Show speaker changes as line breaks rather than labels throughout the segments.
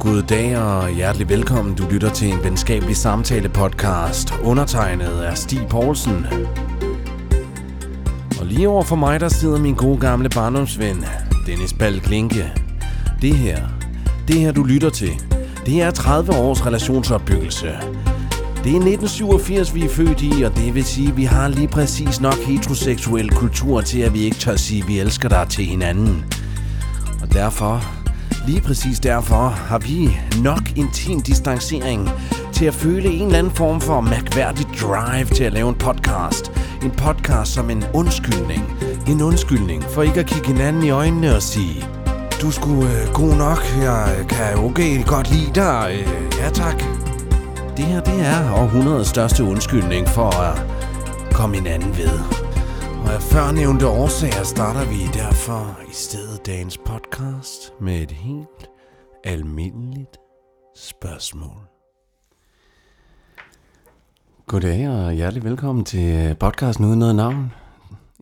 God dag og hjertelig velkommen. Du lytter til en venskabelig samtale podcast. Undertegnet er Stig Poulsen. Og lige over for mig, der sidder min gode gamle barndomsven, Dennis Balklinke. Det her, det her du lytter til, det er 30 års relationsopbyggelse. Det er 1987, vi er født i, og det vil sige, at vi har lige præcis nok heteroseksuel kultur til, at vi ikke tør sige, at vi elsker dig til hinanden. Og derfor, lige præcis derfor, har vi nok intim distancering til at føle en eller anden form for mærkværdig drive til at lave en podcast. En podcast som en undskyldning. En undskyldning for ikke at kigge hinanden i øjnene og sige, du skulle øh, god nok, jeg øh, kan okay godt lide dig, øh, ja tak. Det her, det er århundredets største undskyldning for at komme hinanden ved. Og af førnævnte årsager starter vi derfor i stedet dagens podcast med et helt almindeligt spørgsmål. Goddag og hjertelig velkommen til podcasten uden noget navn.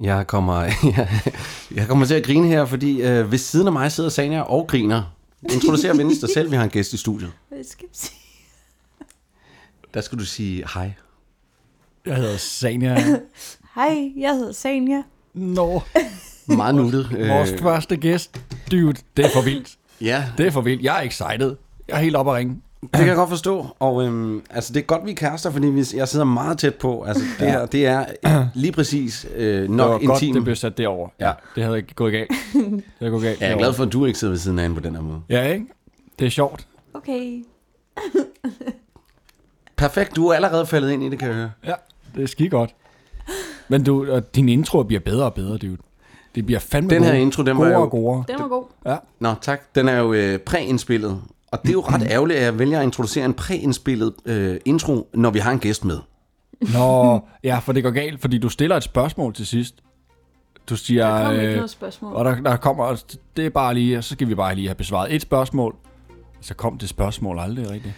Jeg kommer, jeg, jeg kommer til at grine her, fordi øh, ved siden af mig sidder Sanja og griner. Introducer venligst dig selv, vi har en gæst i studiet.
Hvad skal jeg sige?
Der skal du sige hej.
Jeg hedder Sanja.
Hej, jeg hedder Sanja.
Nå,
Meget nuttet. Øh,
vores første gæst. Dude, det er for vildt.
ja,
Det er for vildt. Jeg er excited. Jeg er helt oppe at ringe.
Det kan jeg godt forstå, og øhm, altså, det er godt, vi er kærester, fordi vi, jeg sidder meget tæt på. Altså, det her, det er øh, lige præcis øh,
Det var
nok
godt, det
intimt.
blev sat derover.
Ja.
Det havde ikke gået galt. Det havde gået galt.
Jeg er glad for, at du ikke sidder ved siden af hende på den her måde.
Ja, ikke? Det er sjovt.
Okay.
Perfekt, du er allerede faldet ind i det, kan jeg høre.
Ja, det er skide godt. Men du, og din intro bliver bedre og bedre, dude. Det bliver fandme
Den her
gode.
intro, den var
Godere
jo-
og godere.
Den var god.
Ja.
Nå, tak. Mm. Den er jo øh, præindspillet, og det er jo ret ærgerligt, at jeg vælger at introducere en præindspillet øh, intro, når vi har en gæst med.
Nå, ja, for det går galt, fordi du stiller et spørgsmål til sidst. Du siger...
Der kom ikke
øh,
noget spørgsmål.
Og der, der kommer, også- det er bare lige, og så skal vi bare lige have besvaret et spørgsmål. Så kom det spørgsmål aldrig rigtigt.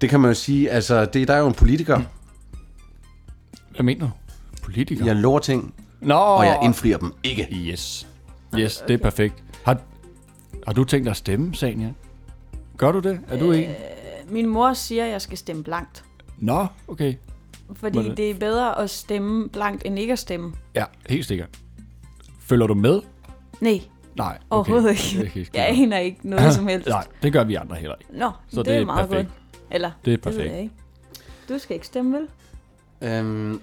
Det kan man jo sige, altså, det, der er jo en politiker.
Hvad mener du? Politiker?
Jeg lover ting,
Nå,
og jeg indfrier dem ikke.
Yes. Yes, det er perfekt. Har, har du tænkt dig at stemme, Sanja? Gør du det? Er du en?
Øh. Min mor siger, at jeg skal stemme blankt.
Nå, okay.
Fordi
Hvordan?
det? det er bedre at stemme blankt, end ikke at stemme.
Ja, helt sikkert. Følger du med?
Nej,
Nej. Okay.
overhovedet
Det er
ikke.
helt
Jeg aner ikke noget som helst.
Nej, det gør vi andre heller ikke.
Nå,
Så
det,
det
er
er
meget
perfekt.
godt. Eller,
Det er
Det ved
perfekt.
jeg ikke. Du skal ikke stemme, vel?
Øhm,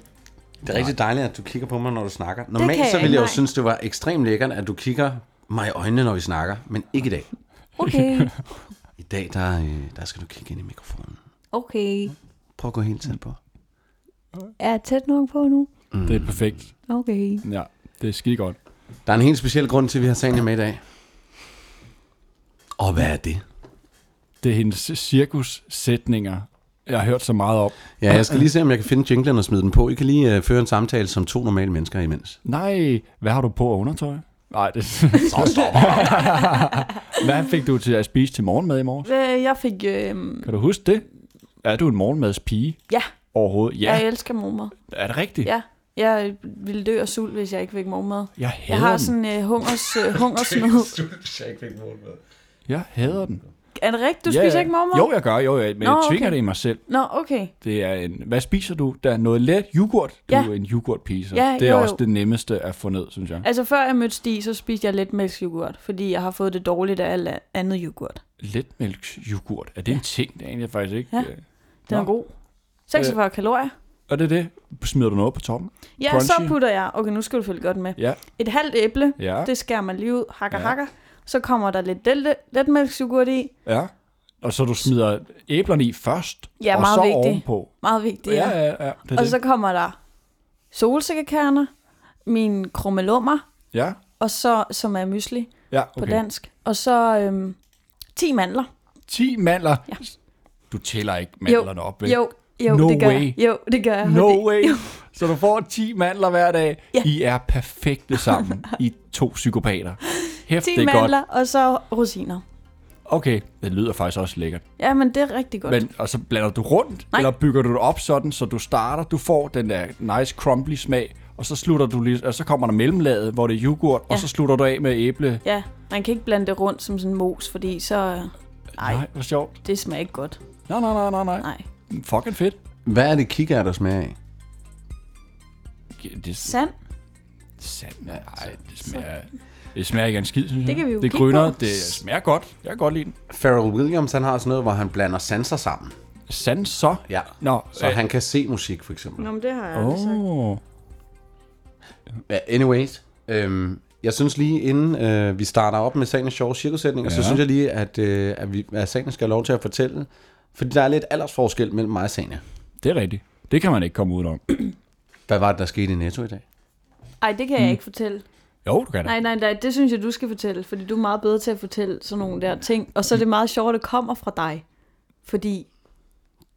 det er rigtig dejligt, at du kigger på mig, når du snakker.
kan
Normalt
jeg
så ville
ikke,
jeg jo
nej.
synes, det var ekstremt lækkert, at du kigger mig i øjnene, når vi snakker. Men ikke i dag.
Okay,
I dag, der, øh, der skal du kigge ind i mikrofonen.
okay.
Prøv at gå helt tæt på.
Er jeg tæt nok på nu?
Mm.
Det er perfekt.
Okay.
Ja, det er skide godt.
Der er en helt speciel grund til, at vi har Sanja med i dag. Og hvad er det?
Det er hendes cirkussætninger, jeg har hørt så meget om.
Ja, jeg skal lige se, om jeg kan finde jinglen og smide den på. I kan lige øh, føre en samtale som to normale mennesker imens.
Nej, hvad har du på af undertøj? Nej, det...
Så stopper
hvad fik du til at spise til morgenmad i morges?
Øh, Jeg fik... Øh,
Kan du huske det? Er du en morgenmadspige
ja,
overhovedet?
ja,
Ja,
jeg elsker mormad.
er det rigtigt?
Ja, jeg ville dø af sult, hvis jeg ikke fik mormad.
Jeg
Jeg
hader
har
den.
sådan øh, hungers, øh, hungersnød.
Jeg hader den.
Er det rigtigt? Du spiser ikke mormor?
Jo, jeg gør, jo, jeg, men
Nå,
Nå, jeg tvinger
okay.
det i mig selv.
Nå, okay.
Det er en, hvad spiser du? Der er noget let yoghurt. Du
Ja.
ja. er en yoghurtpige, så
Ja,
det er
jo,
også
jo.
det nemmeste at få ned, synes jeg.
Altså, før jeg mødte Stig, så spiste jeg lidt mælksjoghurt, fordi jeg har fået det dårligt af alt andet yoghurt.
Letmælksjoghurt, er det en ting? Det er egentlig faktisk ikke.
Ja.
øh.
Den er
Nå.
god. 46 øh. kalorier.
Og det er det. Smider du noget på toppen?
Ja,
Crunchy.
så putter jeg... Okay, nu skal du følge godt med.
Ja.
Et halvt æble,
Ja.
det skærer man lige ud, hakker,
Ja.
hakker. Så kommer der lidt let, let mælksjoghurt i.
ja. Og så du smider æblerne i først,
Ja,
og
meget
så
vigtigt.
ovenpå.
Meget vigtigt.
Ja, ja, ja. Det er
Og
det.
så kommer der solsikkekerner, mine krummelummer,
ja.
og så, som er mysli
Ja,
på
okay.
dansk. Og så øhm, 10 mandler.
10 mandler.
Ja.
Du tæller ikke mandlerne op, vel?
Jo, jo,
No
det gør
way.
jeg. Jo, det gør jeg. fordi-
No way. Så du får 10 mandler hver dag.
Ja.
Ja. I er perfekte sammen. I er to psykopater. Hæft,
10
det er
mandler, og så rosiner.
godt. Okay, det lyder faktisk også lækkert.
Ja, men det er rigtig godt. Men,
Men, og så blander du rundt,
Nej.
Nej. eller bygger du det op sådan, så du starter, du får den der nice crumbly smag, og så slutter du lige, og så kommer der mellemlaget, hvor det er yoghurt, ja.
Ja.
og så slutter du af med æble.
ja, man kan ikke blande det rundt som sådan mos, fordi så... Nej,
Nej, hvor sjovt.
det smager ikke godt.
Nej, nej, nej, nej, nej.
Nej.
Fucking fedt.
Hvad er det kigger, der smager af?
Ja, Det er
Sand.
sandt. Nej, det smager... Det smager ikke af en skid, synes jeg.
Det kan vi jo
Det
kigge
grønner,
på.
det smager godt. Jeg kan godt lide den.
Pharrell Williams, han har sådan noget, hvor han blander sanser sammen.
Sand så.
Ja.
Nå, øh,
Så han kan se musik, for eksempel.
Nå, men det har jeg
Åh.
Ja, Anyways, øhm, jeg synes lige, inden øh, vi starter op med sagens sjove cirkusætninger, ja. så
Ja.
synes jeg lige, at, øh, at, vi, at sagen skal have lov til at fortælle, fordi der er lidt aldersforskel mellem mig og Sanja.
Det er rigtigt. Det kan man ikke komme udenom.
Hvad var det, der skete i Netto i dag?
Ej, det
Mm.
kan jeg ikke fortælle.
Jo, du kan da.
Nej, nej, nej, det synes jeg, du skal fortælle, fordi du er meget bedre til at fortælle sådan nogle der ting. Og så er det meget sjovt, at det kommer fra dig. Fordi,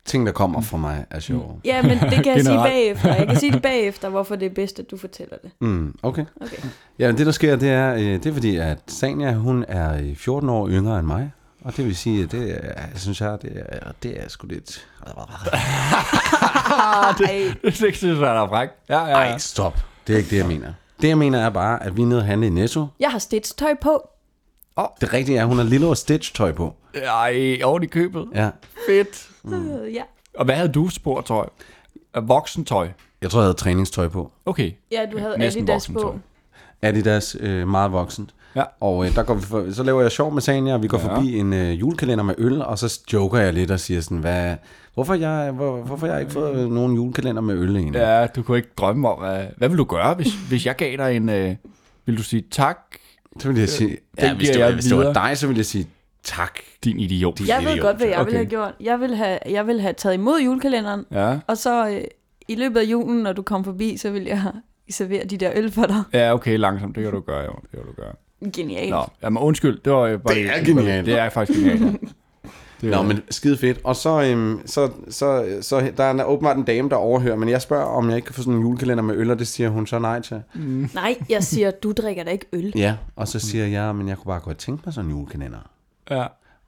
Ting, der kommer fra mig, er sjove.
ja, men det kan jeg sige
Generelt.
bagefter. Jeg kan sige det bagefter, hvorfor det er bedst, at du fortæller det.
Mm, okay.
Okay.
Ja, men det der sker, det er, øh, det er fordi, at Sanja, hun er øh, 14 år yngre end mig. Og det vil sige, at det er, synes jeg, det er, det er sgu lidt...
Ej,
Ah, Det er ikke så svært at frække. Ja, ja, ja.
Ej, stop. Det er ikke det, jeg mener. Det, jeg mener, er bare, at vi er nede og handle i Netto.
jeg har stitch-tøj på.
Det rigtige er, at hun har lille og stitch-tøj på.
Ej, oven i købet.
Ja.
Fedt.
Mm. Ja.
Og hvad havde du spurgt tøj? Voksentøj.
Jeg tror, jeg havde træningstøj på.
Okay.
ja, du havde
Næsten
Adidas på.
voksentøj.
Adidas, øh, meget voksent.
Ja.
Og øh, der går vi for, så laver jeg sjov med Sanja, og vi går ja.
Ja.
forbi en øh, julekalender med øl, og så joker jeg lidt og siger sådan, hvad, hvorfor, jeg, hvor, hvorfor jeg ikke fået øh, nogen julekalender med øl egentlig?
Ja, du kunne ikke drømme om, hvad, hvad ville du gøre, hvis, hvis jeg gav dig en... Øh, vil du sige tak,
Så vil jeg sige,
den
ja, hvis,
giver
det var,
jeg
hvis det var
videre.
dig, så vil jeg sige, tak.
din idiot?
Din-
Jeg ved
Idiot.
godt, hvad jeg
Okay.
ville have gjort. Jeg ville have, jeg ville have taget imod julekalenderen,
Ja,
og så øh, i løbet af julen, når du kom forbi, så ville jeg servere de der øl for dig.
ja okay, langsomt. Det kan du gøre, jo. Det kan du gøre.
Genialt.
Nå, jamen undskyld. Det, var jo bare
Det er genialt.
Det er faktisk genialt. ja. Det
Nå,
er-
men skide fedt. Og så, øhm, så, så, så der er åbenbart en dame, der overhører, men jeg spørger, om jeg ikke kan få sådan en julekalender med øl, og det siger hun så nej til.
Nej, jeg siger, du drikker da ikke øl.
Ja, og så siger jeg, men jeg kunne bare godt tænke mig sådan en julekalender.
Ja.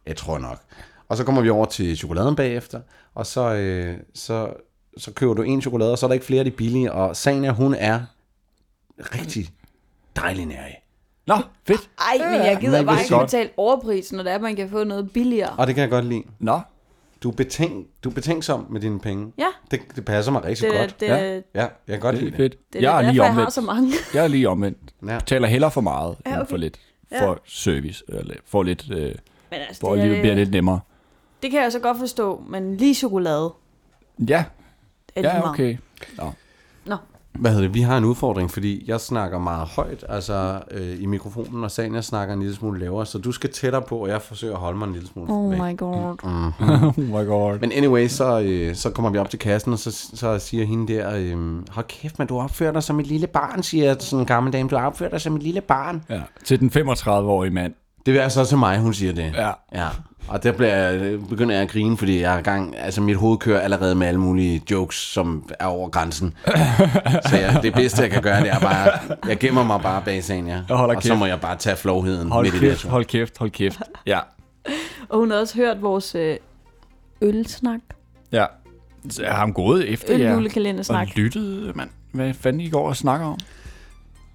Jeg tror nok. Og så kommer vi over til chokoladen bagefter, og så, øh, så, så køber du en chokolade, og så er der ikke flere af de billige, og Sanja, hun er rigtig dejlig nær
Nå, fedt.
Ej, men jeg gider
men
bare
hvis
ikke
godt.
betale overpris, når det er, man kan få noget billigere.
Og det kan jeg godt lide.
Nå,
Du er, betænk, du er betænksom med dine penge.
Ja,
Det, det passer mig rigtig
det,
godt.
det,
Ja.
det,
Ja, jeg kan godt
det
lide
er
det.
fedt.
det
jeg
er
er
derfor,
lige
jeg har
omvendt.
så mange.
Jeg er lige omvendt.
Ja.
Betaler heller for
Ja,
meget ja, okay. end
okay.
for lidt.
Ja.
For service. Eller for lidt, øh,
Men altså,
hvor
det,
livet bliver
det,
lidt nemmere.
det kan jeg så godt forstå, men lige chokolade
Ja,
er lige
ja
meget.
okay. Nå.
Nå,
Hvad hedder det? Vi har en udfordring, fordi jeg snakker meget højt altså øh, i mikrofonen, og Sanja snakker en lille smule lavere, så du skal tættere på, og jeg forsøger at holde mig en lille smule
oh
væk.
my god.
Oh my god.
Men anyway, så, øh, så kommer vi op til kassen, og så, så siger hende der, øh, hold kæft, men du opfører dig som et lille barn, siger sådan en gammel dame, du opfører dig som et lille barn.
Ja, til den 35-årige mand.
Det er så til mig, hun siger det.
Ja.
ja. Og der bliver, jeg- øh, begynder jeg at grine, fordi jeg er i gang, altså mit hoved kører allerede med alle mulige jokes, som er over grænsen. så jeg, det bedste, jeg kan gøre, det er bare, jeg gemmer mig bare bag sagen, ja.
Jeg holder
og så
kæft.
må jeg bare tage flovheden
Hold
midt i
kæft,
det.
hold kæft, hold kæft. Ja,
Og hun har også hørt vores øh, ølsnak,
ja. Så jeg har ham gået efter jer
øljulekalendersnak.
og lyttet, mand. Hvad fanden I går og snakker om?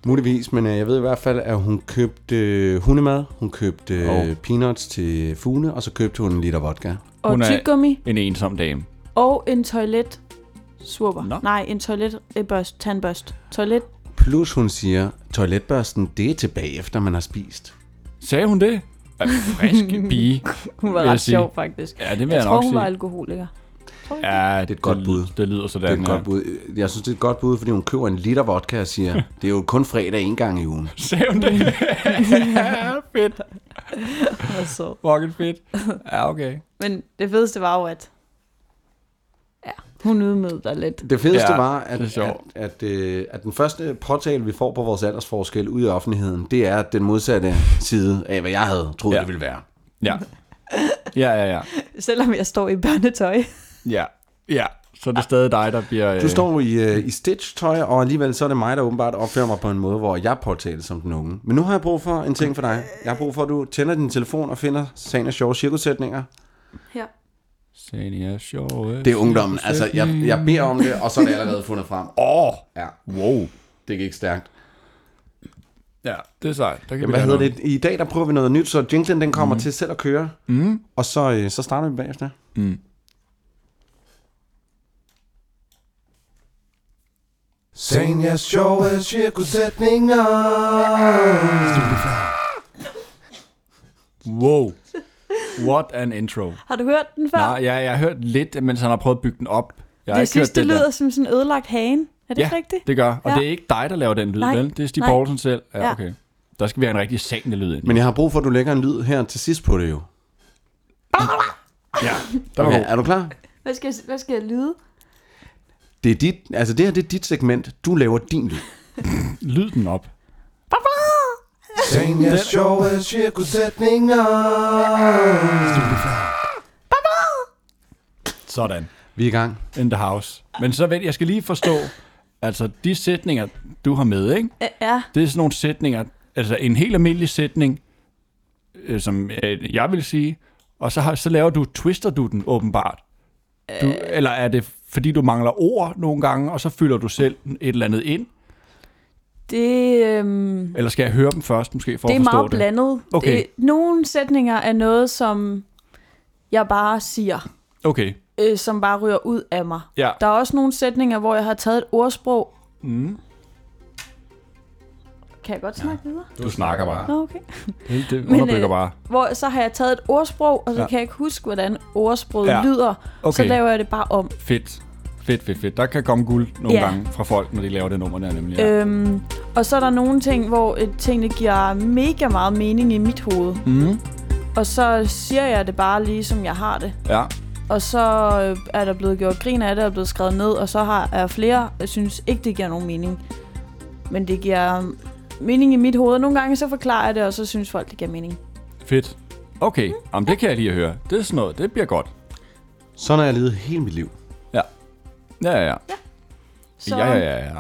Muligvis, men øh, jeg ved i hvert fald, at hun købte øh, hundemad, hun købte øh,
Åh.
peanuts til Fune, og så købte hun en liter vodka.
Og
Hun er-
tyggegummi
En ensom dame.
og en toilet Swurper.
Nå.
Nej, en toilet øh, børst, tandbørst. Toilet.
Plus hun siger, toiletbørsten, det er tilbage efter man har spist.
Sagde hun det? Ja, frisk pige.
Hun var
Vil jeg
ret
sige.
sjov, faktisk.
Ja, det vil jeg,
Jeg tror,
nok
hun var
sige.
alkoholiker.
Ja, det er
et godt bud.
Det lyder
Det
sådan,
er et
ja.
godt bud. Jeg synes, det er et godt bud, fordi hun køber en liter vodka og siger, det er jo kun fredag en gang i ugen.
Sagde hun det? ja, fedt.
Altså.
Fucking fedt. Ja, okay.
Men det fedeste var jo, at ja, hun ydmygede dig lidt.
Det fedeste ja,
Ja,
var,
det er
at, at,
sjovt.
at, øh, at den første påtale, vi får på vores aldersforskel ude i offentligheden, det er den modsatte side af, hvad jeg havde troet, ja.
Ja.
det ville være.
Ja. Ja, ja, ja.
Selvom jeg står i børnetøj.
Ja, ja. Så er det stadig dig, der bliver...
Du
øh,
står i, øh, i Stitch-tøj, og alligevel så er det mig, der åbenbart opfører mig på en måde, hvor jeg påtales som den unge. Men nu har jeg brug for en ting for dig. Jeg har brug for, at du tænder din telefon og finder sagen af sjove cirkussætninger.
Ja.
øh, Sania Sjove.
Det er ungdommen. Altså, jeg, jeg beder om Mm. det, og så er det allerede fundet frem.
Åh,
Ja,
wow.
det gik stærkt.
Ja, det er sejt. Der kan
Hvad hedder det? I dag der prøver vi noget nyt, så jinglen den kommer mm. til selv at køre. Mm. Og så, øh, så starter vi bagefter.
Mm.
Sagen er sjove cirkusætninger.
Wow. What an intro.
Har du hørt den før?
Nej, jeg, jeg har hørt lidt, mens han har prøvet at bygge den op. Jeg har
jeg
ikke
synes,
hørt
det
der.
lyder som sådan en ødelagt hane. Er det
ja,
ikke rigtigt?
det gør. Og
Ja.
ja. det er ikke dig, der laver den lyd,
Nej,
vel? Det er Stig
nej.
Poulsen selv.
Ja.
Ja, okay. Der skal vi have en rigtig sagende lyd ind.
Men jeg har brug for, at du lægger en lyd her til sidst på det jo.
ja, der var
Okay,
god.
er du klar?
Hvad skal, jeg- hvad skal jeg lyde?
Det, er dit, altså det her det er dit segment. Du laver din lyd.
Lyd den op.
Sagen er sjove cirkusætninger.
Sådan.
Vi er i gang.
In the house. Men så vent, jeg skal lige forstå, altså de sætninger, du har med, ikke?
Ja, Ja,
Det er sådan nogle sætninger, altså en helt almindelig sætning, øh, som øh, jeg vil sige, og så, har, så laver du, twister du den åbenbart. Du,
Øh.
Eller er det, fordi du mangler ord nogle gange, og så fylder du selv et eller andet ind?
det, øhm,
Eller skal jeg høre dem først, måske, for
det er
at forstå
meget
det?
blandet.
Okay.
Det, nogle sætninger er noget, som jeg bare siger,
Okay,
øh, som bare ryger ud af mig.
ja.
Der er også nogle sætninger, hvor jeg har taget et ordsprog.
Mm.
Kan jeg godt snakke ja. videre?
Du snakker bare.
Nå, okay.
Det, det
Men,
underbygger
øh,
bare.
Hvor så har jeg taget et ordsprog, og så ja.
Ja.
kan jeg ikke huske, hvordan ordsproget ja.
Ja.
lyder. Okay. Så
Okay.
laver jeg det bare om.
Fedt. Fedt, fedt, fedt. Der kan komme guld nogle
Ja.
ja. gange fra folk, når de laver det nummer der nemlig. Ja.
Øhm, og så er der nogle ting, hvor øh, tingene giver mega meget mening i mit hoved.
Mm.
Og så siger jeg det bare lige, som jeg har det.
ja.
Og så øh, er der blevet gjort grin af det, og er blevet skrevet ned, og så har er flere, jeg synes ikke, det giver nogen mening. Men det giver øh, mening i mit hoved. Nogle gange så forklarer jeg det, og så synes folk, det giver mening.
Fedt. Okay, Jamen, det kan jeg lige høre. Det er sådan noget, det bliver godt.
Sådan har jeg levet hele mit liv.
Ja, ja, ja.
Så
Ja, ja, ja, ja.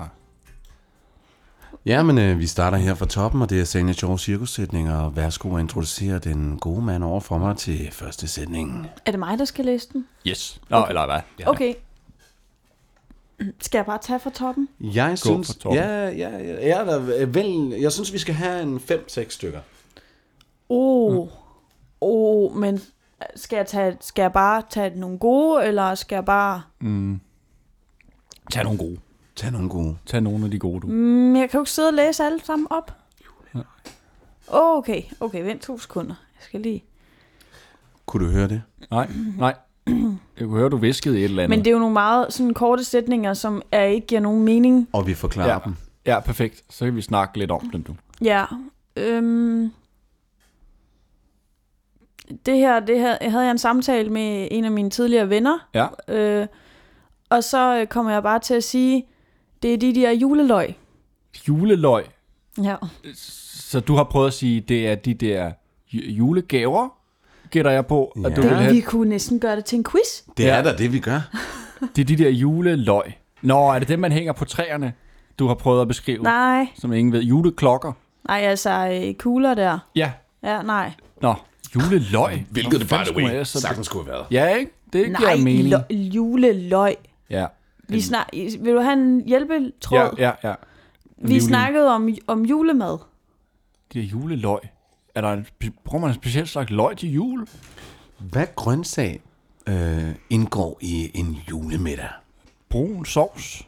Jamen, øh, vi starter her fra toppen, og det er Sanja Sjov Cirkussætning, og værsgo at introducere den gode mand over for mig til første sætning.
er det mig, der skal læse den?
Yes. Nå, okay. eller hvad? Ja.
Okay. Skal jeg bare tage fra toppen?
Jeg
fra
synes,
toppen.
ja, ja, ja, jeg, er da, øh, vel, jeg synes, vi skal have en 5-6 stykker.
Åh, oh. oh, men skal jeg, tage, skal jeg bare tage nogle gode, eller skal jeg bare...
Tag nogle gode.
Tag nogle gode.
Tag nogle af de gode, du.
Mm, jeg kan jo ikke sidde og læse alle sammen op. Okay, okay, vent to sekunder. Jeg skal lige...
Kunne du høre det?
Nej, nej. Jeg kunne høre, du viskede i et eller andet.
Men det er jo nogle meget sådan korte sætninger, som er, ikke giver nogen mening.
Og vi forklarer
ja.
dem.
ja, perfekt. Så kan vi snakke lidt om dem, du.
Ja. Øhm, det her, det her havde jeg en samtale med en af mine tidligere venner,
Ja.
øh, og så øh, kommer jeg bare til at sige, det er de der juleløg.
Juleløg.
Ja.
Så du har prøvet at sige, det er de der ju- julegaver, gætter jeg på, at
Ja.
du vil
Det,
have. Uh.
vi kunne næsten gøre det til en quiz.
Det
Ja.
er da det, vi gør.
Det er de der juleløg. Nå, er det dem, man hænger på træerne, du har prøvet at beskrive?
Nej,
Som ingen ved. Juleklokker.
nej altså øh, kugler der.
Ja.
Ja, nej.
Nå, juleløg.
Hvilket det, by the
fanden skulle man
way,
ellers så-
sagtens skulle have været.
Ja, ikke? Det
Nej,
giver mening.
lø- juleløg.
Ja.
Vi snak- vil du have en hjælpetråd?
Ja, ja, ja.
vi
Julen.
snakkede om, om julemad.
Det er juleløg. Er der en, bruger man en speciel slags løg til jul?
Hvad grøntsag øh, indgår i en julemiddag?
Brun sovs?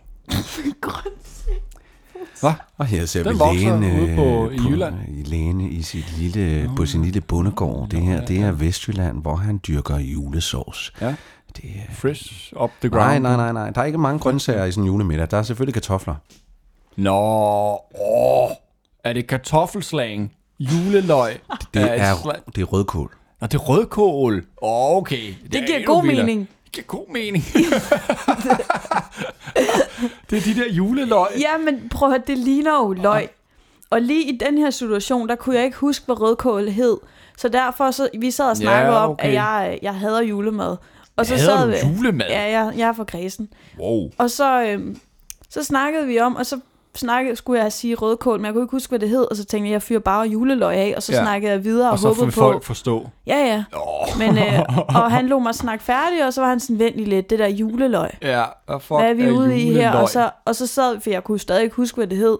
Og her ser
Den
vi
vokser
lægen,
ude
øh,
på- i Jylland.
i lægen i sit lille, på sin lille bondegård. Det her, det er Vestjylland, hvor han dyrker julesovs.
Ja.
Det er...
Fresh up the
Nej,
ground.
nej, nej, nej. Der er ikke mange grøntsager i sådan en julemiddag. Der er selvfølgelig kartofler.
Nå, åh. Er det kartoffelslagen? Juleløg?
Det
et
er,
sla-
det er rødkål.
Nå, det er rødkål. Åh, okay. Det, er
giver
endnu
god
vildere.
mening.
Det giver god mening. det er de der juleløg.
Ja, men prøv at høre, det ligner jo løg. Og lige i den her situation, der kunne jeg ikke huske, hvad rødkål hed. Så derfor, så, vi sad og
Ja,
snakkede ja, okay. om,
okay.
at jeg, jeg hader julemad. Og så
Hader
sad
du
vi-
julemad?
Ja, jeg, jeg er fra kredsen.
Wow.
Og så, øhm, så snakkede vi om, og så snakkede, skulle jeg sige rødkål, men jeg kunne ikke huske, hvad det hed. Og så tænkte jeg, jeg fyrer bare juleløg af, og så ja.
Ja.
snakkede jeg videre og,
Og så
håbede
får
på...
folk forstå.
Ja, ja.
Åh.
Men, øh, og han lå mig snakke færdig, og så var han sådan, vent lige lidt, det der juleløg.
Ja, hvad fuck
Hvad er vi ude i her?
juleløg?
Og så, og så sad vi, for jeg kunne stadig ikke huske, hvad det hed.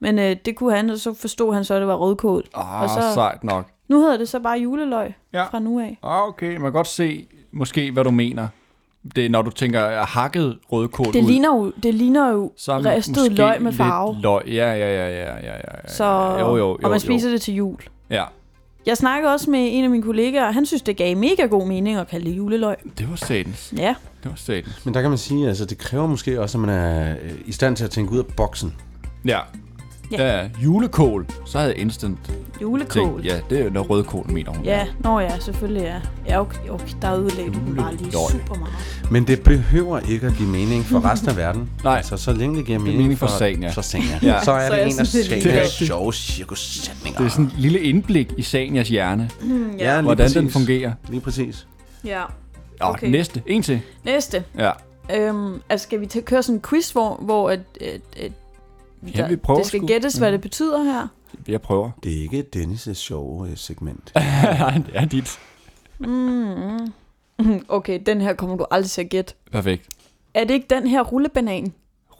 Men øh, det kunne han, og så forstod han så, at det var rødkål.
Ah,
Og så-
sejt nok.
Nu hedder det så bare juleløg
Ja.
fra nu af.
Ah, okay, man kan godt se, måske, hvad du mener. Det er, når du tænker hakket rødkål
Det
ud.
ligner jo, det ligner jo
så er
ristet
måske
løg med
lidt
farve.
Løg. Ja, ja, ja, ja, ja, ja, ja.
Så,
jo, jo, jo,
og man
jo.
spiser det til jul.
Ja,
Jeg snakkede også med en af mine kollegaer, han synes, det gav mega god mening at kalde det juleløg.
det var satans.
Ja,
Det var satans.
Men der kan man sige, altså det kræver måske også, at man er øh, i stand til at tænke ud af boksen.
Ja.
Ja.
Ja. ja, julekål. Så havde jeg instant
julekål.
tænkt, ja, det er noget rødkål, mener hun.
Ja, nå ja, selvfølgelig ja. Ja, okay, okay der ødelagde du den bare lige
Juleløg.
super meget.
Men det behøver ikke at give mening for resten af verden.
Nej.
Altså, så længe det giver mening,
mening for sagen, ja.
for sagen, ja.
Ja.
Så er
Så
det
jeg
en af
synes, det er lige
sagens
rigtigt.
sjove cirkussætninger.
Det er sådan et lille indblik i Sanias hjerne,
ja, lige
hvordan
præcis.
den fungerer.
Lige præcis.
Ja.
Og
Okay.
okay. næste, en til.
Næste.
Ja,
Øhm, altså, skal vi t- køre sådan en quiz, hvor, hvor at, at, at
ja vi prøver
det skal
sgu. Mm.
gættes, hvad det betyder her?
Jeg prøver.
Det er ikke Dennis' sjove øh, segment.
Nej, det er dit.
Okay, den her kommer du aldrig til at gætte.
Perfekt.
Er det ikke den her rullebanan?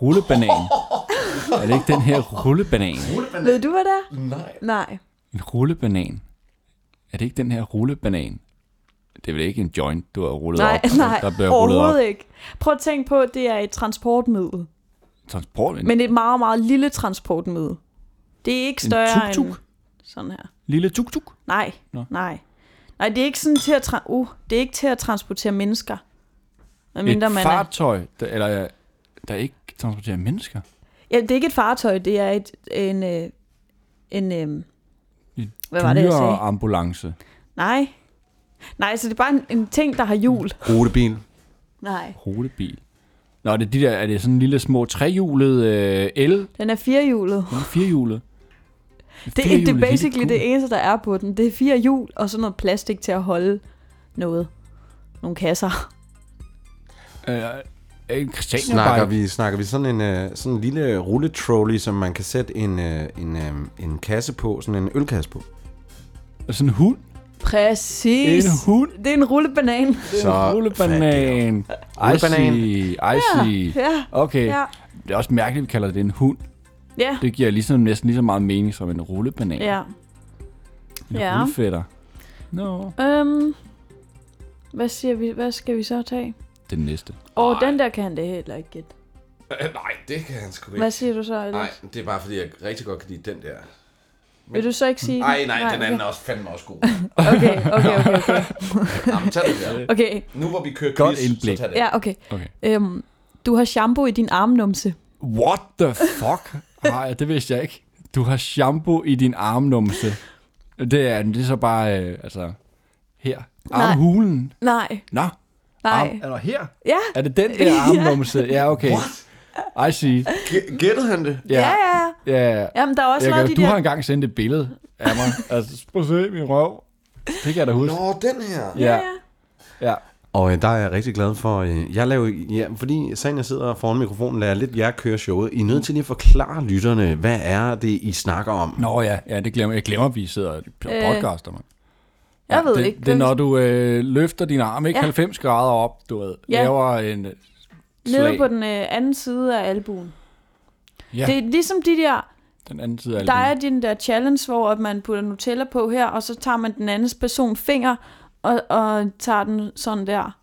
Rullebanan. er det ikke den her rullebanan?
Ved du, hvad det er? Nej. Nej.
En rullebanan. Er det ikke den her rullebanan? Det er vel ikke en joint, du har rullet
Nej,
op? altså,
nej,
Der bliver rullet op.
overhovedet ikke. Prøv at tænke på, at det er et transportmiddel.
Transport. En
Men et meget, meget lille transportmiddel. Det er ikke større
tuk-tuk?
end sådan her.
Lille tuk-tuk.
Nej,
Nå.
nej. Nej, det er ikke sådan til at, tra- uh, det er ikke til at transportere mennesker. Hvad mindre
Et
man er.
fartøj, der, eller, der ikke transporterer mennesker.
Ja, det er ikke et fartøj, det er et, en, øh, en, en
En
hvad var det, jeg sagde?
ambulance.
Nej. Nej, så det er bare en, en ting, der har hjul.
Rutebil.
Nej.
Rutebil. Nå, det er, de der, er det sådan en lille små trehjulet øh, el?
Den er firehjulet.
Den er firehjulet.
Det, er,
Firehjulet,
det er
lille
basically
kugle.
det eneste, der er på den. Det er fire hjul, og så noget plastik til at holde noget. Nogle kasser.
Øh, en
Snakker
Christiania
vi, snakker vi sådan en, øh, sådan en lille rulletrolley, som man kan sætte en, øh, en, øh, en kasse på, sådan en ølkasse på.
Sådan en hund.
Præcis.
En hund.
Det er en rullebanan.
Så
en rullebanan.
Rullebanan.
Icy. Icy.
Ja.
Okay.
Ja.
Det er også mærkeligt, at vi kalder det en hund.
Ja.
Det giver ligesom næsten lige så meget mening som en rullebanan.
Ja.
En
Ja.
rullefætter. Nå.
Øhm, hvad siger vi? Hvad skal vi så tage?
Den næste.
Åh, oh, den der kan han det heller ikke gætte.
Øh, Nej, det kan han sgu
Hvad siger du så, Alex?
Nej, det er bare fordi, jeg rigtig godt kan lide den der.
Vil du så ikke sige den?
Ej, nej, den anden er
okay.
også fandme også god.
Okay, okay, okay, okay.
Jamen, tag den der.
okay.
Nu hvor vi kører
Godt
quiz, så
indblik.
tag den.
Ja, okay.
Okay.
Øhm, du har shampoo i din armnumse.
What the fuck? Nej, det vidste jeg ikke. Du har shampoo i din armnumse. Det er, det er så bare, øh, altså, her. Armhulen.
Nej,
Nå.
nej.
Arm, eller her.
Ja,
Er det den der armnumse? Ja, okay. What? I see.
G- Gættede han det?
ja, ja. ja.
ja.
Jamen, der er også
Jeg
noget
kan,
af de
du
der...
har engang sendt et billede af mig. Altså, prøv at se min røv. Det kan jeg da huske.
Nå, den her.
Ja,
ja.
ja.
Og øh, der er jeg rigtig glad for, øh, jeg laver, ja, fordi sagen jeg sidder foran mikrofonen, lader jeg lidt jer køre showet. I er nødt til lige at forklare lytterne, hvad er det, I snakker om?
Nå ja, ja det glemmer, jeg glemmer, at vi sidder og podcaster, man.
Øh, Jeg ved
det,
ikke.
Det er, når du øh, løfter din arm, ikke?
Ja.
Ja. 90 grader op, du ved,
Ja.
ja. laver en øh,
Nede
slag.
på den øh, anden side af albuen.
Ja.
Det er ligesom de der...
den anden side af
Der
albuen.
er den der challenge, hvor at man putter Nutella på her, og så tager man den andens person finger, og, og tager den sådan der.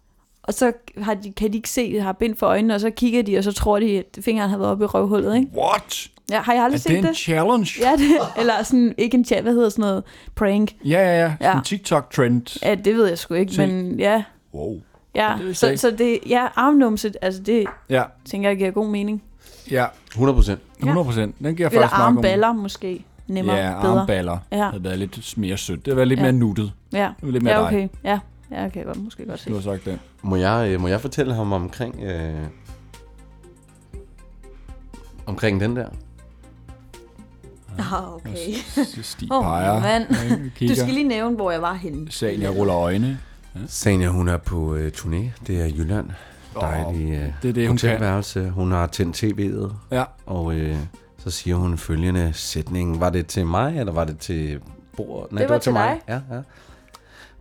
Og så har de, kan de ikke se, at har bind for øjnene, og så kigger de, og så tror de, at fingeren har været oppe i røvhullet, ikke?
What?
Ja, har jeg aldrig
Er det
set
en
det?
challenge?
Ja, det, eller sådan, ikke en chat, hvad hedder sådan noget, prank.
ja, ja. ja. Sådan
Ja.
en TikTok-trend.
Ja, det ved jeg sgu ikke,
Se.
men ja.
Wow.
ja.
Det vidste jeg
så,
ikke.
så det, ja, armnumset, altså det
Ja,
tænker jeg giver god mening.
ja.
100 procent.
100 procent. Den giver
Eller
faktisk nok om.
armballer måske, nemmere,
Ja,
bedre.
armballer.
Ja.
Ja. havde været lidt mere sødt. Det havde været lidt
Ja.
mere nuttet.
Ja,
Det var lidt mere
ja
dig.
okay. Ja, ja okay, godt, måske godt se.
Du har sagt den.
Må jeg, øh, må jeg fortælle ham omkring, øh, omkring den der?
Ah, okay.
Stig
Åh,
peger.
mand.
Kigger.
Du skal lige nævne, hvor jeg var henne.
Sagen, jeg ruller øjne.
Sanja, hun er på øh, turné. Det er Jylland. Dejlig øh,
det er det, hun kan.
hotelværelse. Hun har tændt tv'et.
Ja.
Og øh, så siger hun følgende sætning. Var det til mig, eller var det til bord? Nej,
Det var til dig.
Ja, ja.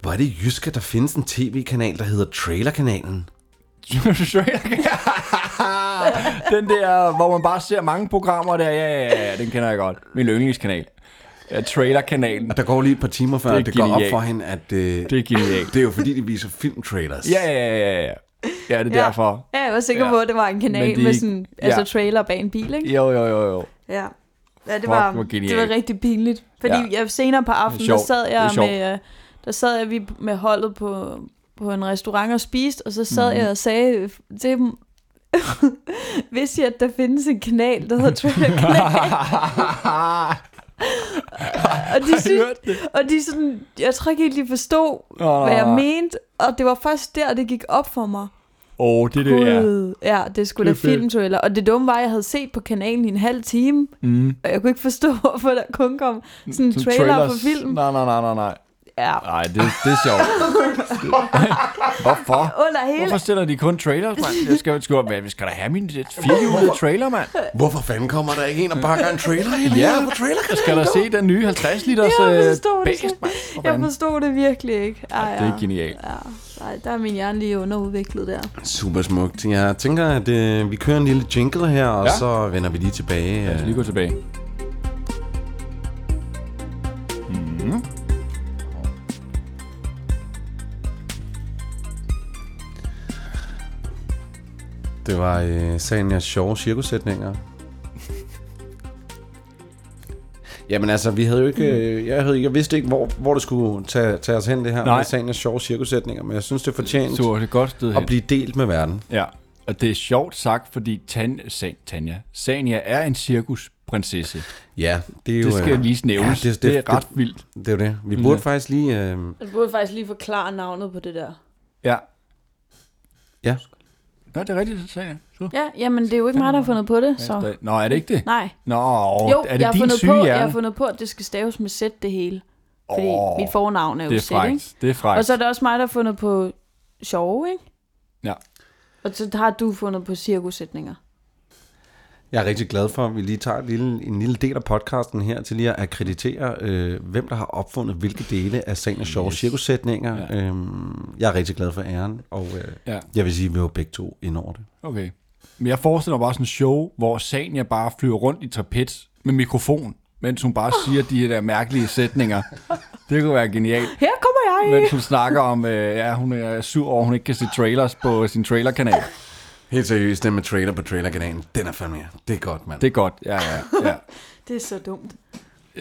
Hvor er det i jysk, at der findes en tv-kanal, der hedder Trailerkanalen?
Straight again. den der, hvor man bare ser mange programmer der. Ja, ja, ja, ja, den kender jeg godt. Min yndlingskanal. Ja, trailerkanalen.
Og der går lige et par timer før,
Det er
det, det går op
genialt.
for hende, at øh,
Det er genialt.
det er jo fordi, de viser filmtrailers.
Ja, ja, ja, ja, ja. Ja, det er
Ja.
derfor.
Ja, jeg var sikker
Ja.
på, at det var en
Men
kanal
de-
med sådan,
ja.
altså trailer bag en bil, ikke?
Jo, jo, jo, jo.
Ja. Ja, det
Fuck,
var,
hvor genialt.
det var rigtig pinligt. Fordi
Ja.
ja. jeg, senere på aftenen, der
sjovt.
sad
Det er
jeg
sjovt.
med, øh, der sad jeg vi med holdet på, på en restaurant og spiste, og så sad mm.
Mhm.
jeg og sagde øh, til dem, vidste jeg, at der findes en kanal, der hedder Trailer Kanal, og de, synes,
hørt det?
og de sådan, jeg tror ikke helt, de forstod,
Åh.
hvad jeg mente, og det var først der, det gik op for mig.
Åh, det er det, ja.
Gud, ja, det skulle
Det er
sgu da
fedt.
filmtrailer. Og det dumme var, at jeg havde set på kanalen i en halv time,
Mm.
og jeg kunne ikke forstå, hvorfor der kun kom sådan en trailer trailers. for film.
Nej, nej, nej, nej, nej.
Ja,
Nej, det, det er sjovt. Hvorfor?
under hele...
Hvorfor stiller de kun trailers, mand? Jeg skal, skal, hvad, vi skal da have min øh, firehjulede trailer, mand.
Hvorfor fanden kommer der ikke en og pakker en trailer ind
Ja.
her på trailer?
Jeg skal da se den nye 50 liters
Ja, jeg
øh,
forstår det
bæst,
slet.
mand. For
Jeg
fanden.
forstod det virkelig ikke. Ej,
Det er genialt.
Ja, nej, der er min hjerne lige underudviklet der.
Super smukt. Jeg tænker, at øh, vi kører en lille jingle her, og
Ja.
ja. så vender vi lige tilbage.
Lad os lige
Øh.
gå tilbage.
Det var øh, sagen af sjove cirkussætninger. Jamen altså, vi havde jo
Mm.
ikke, øh, jeg, havde, jeg vidste ikke, hvor, hvor det skulle tage, tage os hen, det her
Nej.
med sagen af sjove cirkussætninger, men jeg synes, det fortjent
Så det er godt sted hen.
at blive delt med verden.
Ja, og det er sjovt sagt, fordi Tan San Tanja, Sania er en cirkusprinsesse.
Ja, det er jo...
Det skal
øh,
lige nævnes.
Ja,
det, det, det er ret Mm. vildt.
Det, det er jo det. Vi burde faktisk lige... Øh,
Jeg Altså, burde faktisk lige forklare navnet på det der.
Ja.
ja,
Nå, det er rigtigt, Sania. Så.
Ja, jamen det er jo ikke mig, der har fundet på det, så...
Nå, er det ikke det?
Nej.
Nå,
Jo,
er det
jeg har,
din
fundet
syge
på, jeg har
hjerne?
fundet på, at det skal staves med Z det hele. Fordi
Åh,
oh, mit fornavn er jo
det er
Z, ikke?
frækt. Det er frækt.
Og så er det også mig, der har fundet på sjove, ikke?
Ja.
Og så har du fundet på cirkusætninger.
jeg er rigtig glad for, at vi lige tager en lille, en lille del af podcasten her til lige at akkreditere, øh, hvem der har opfundet hvilke dele af sagen af sjove yes. cirkussætninger. Ja. Øhm, jeg er rigtig glad for æren, og øh,
Ja.
ja. jeg vil sige, at vi var begge to ind over det.
Okay. Men jeg forestiller mig bare sådan en show, hvor Sania bare flyver rundt i trapez med mikrofon, mens hun bare siger de der mærkelige sætninger. Det kunne være genialt.
Her kommer jeg!
Mens hun snakker om, øh, ja, hun er sur over, at hun ikke kan se trailers på sin trailerkanal.
Helt seriøst, den med trailer på trailerkanalen, den er fandme Det er godt, mand.
Det
Det,
er godt, ja, ja, ja.
Det er så dumt.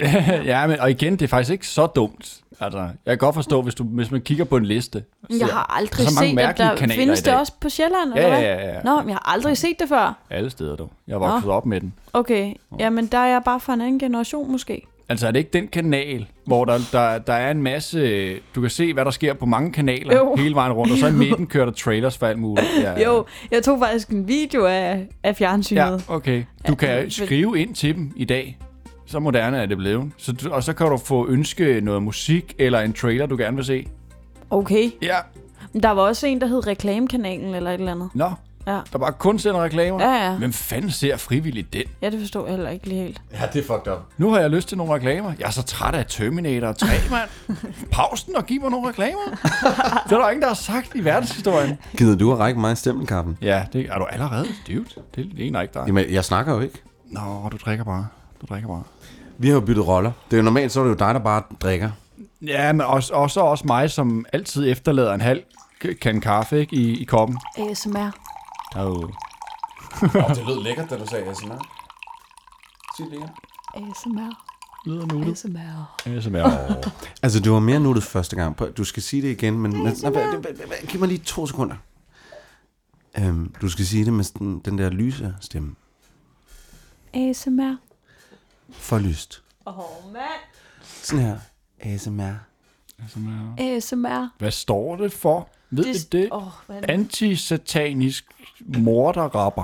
ja, men, og igen, det er faktisk ikke så dumt. Altså, jeg kan godt forstå, hvis, du, hvis man kigger på en liste.
Jeg har aldrig
Der er så
set,
mange
at
mærkelige
der
kanaler
findes
i dag.
det også på Sjælland,
Ja,
eller hvad?
ja, ja, ja.
Nå, men jeg har aldrig set det før.
Alle steder, dog. Jeg er vokset op med den.
Okay, jamen der er jeg bare fra en anden generation måske.
Altså, er det ikke den kanal, hvor der, der, der er en masse... Du kan se, hvad der sker på mange kanaler
Jo.
hele vejen rundt, og så i midten kører der trailers for alt muligt. Ja,
Jo, jeg tog faktisk en video af, af
Ja,
fjernsynet.
okay. Du kan skrive ind til dem i dag. Så moderne er det blevet. Så, du- og så kan du få ønske noget musik eller en trailer, du gerne vil se.
Okay,
Ja.
men der var også en, der hed Reklamekanalen eller et eller andet.
Nå,
Ja,
der bare kun sender reklamer.
Ja, ja.
Hvem fanden ser frivilligt den?
ja det forstår jeg heller ikke lige helt.
ja, det er fucked up.
Nu har jeg lyst til nogle reklamer. Jeg er så træt af Terminator 3, mand. Paus den og giv mig nogle reklamer. det er der ingen, der har sagt i verdenshistorien.
Gider du at række mig stempelkaffen?
Ja, det er du allerede stivt. Det ligner ikke dig.
Jamen, jeg snakker jo ikke.
Nå, du drikker bare. Du drikker bare.
Vi har jo byttet roller. Det er jo normalt, så er det jo dig, der bare drikker.
Ja, men også, også, også mig, som altid efterlader en halv k- kan kaffe ikke, i, i koppen.
ASMR.
Oh.
Oh, det lød lækkert, da du sagde ASMR. Sig lækkert.
ASMR.
Lyder nuttet.
ASMR.
ASMR.
Altså, du var mere nuttet første gang. Prøv- Du skal sige det igen, men... men nej, hva- hva- hva- giv mig lige to sekunder. Øhm, du skal sige det med den, den der lyse stemme.
ASMR.
For lyst.
Åh, oh, mand.
Sådan her. ASMR.
ASMR.
ASMR.
Hvad står det for? Ved det, det?
Åh, hvad er det?
Antisatanisk morderrapper.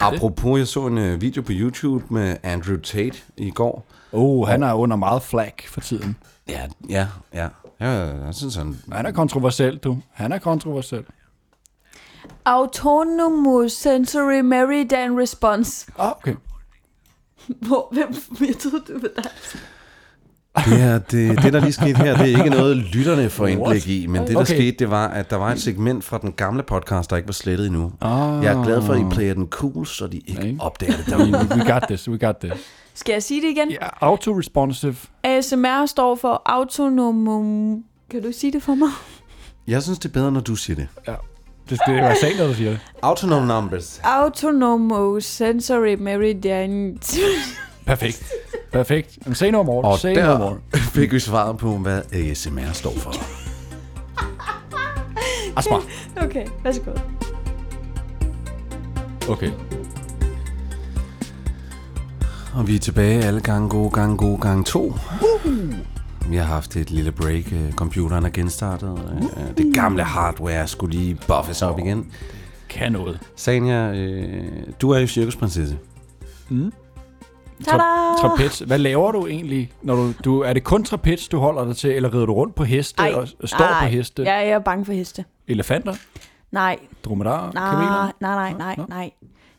Apropos, jeg så en øh, video på YouTube med Andrew Tate i går.
Oh, han er under meget flak for tiden.
Ja, ja, ja. ja jeg synes, han...
Han er kontroversiel, du. Han er kontroversiel.
Autonomous Sensory Meridian Response.
Ah, okay.
Hvor, hvem, jeg troede, det var dig.
Det, her, det, det, der lige skete her, det er ikke noget, lytterne får indblik i, men det, der
Okay.
okay. skete, det var, at der var et segment fra den gamle podcast, der ikke var slettet endnu.
Ah.
Jeg er glad for, at I player den cool, så de ikke
Ikke?
opdager det
We,
derude.
we got this, we got this.
Skal jeg sige det igen?
Ja, autoresponsive.
ASMR står for autonomum... Kan du sige det for mig?
Jeg synes, det er bedre, når du siger det.
Det skal være Sander, der siger det.
Autonome numbers.
Autonomo sensory meridian...
Perfekt. Perfekt. Jamen, Say no more.
Og
Say no
der
more.
fik vi svaret på, hvad ASMR står for.
Ah, smart.
okay, værsgo.
Okay.
Og vi er tilbage alle gange gode, gange gode, gange to. Vi har haft et lille break. Øh, Computeren er genstartet. Øh, Det gamle hardware skulle lige buffes op igen.
Kan noget.
Sanja, øh, du er jo cirkusprinsesse.
Tada!
Trapez. Hvad laver du egentlig? Når du, du, er det kun trapez, du holder dig til, eller rider du rundt på heste og, og står på heste?
Ja, jeg er bange for heste.
Elefanter?
Nej,
Dromedarer? kameler?
nej, nej, nej, nej,
Nå.
nej.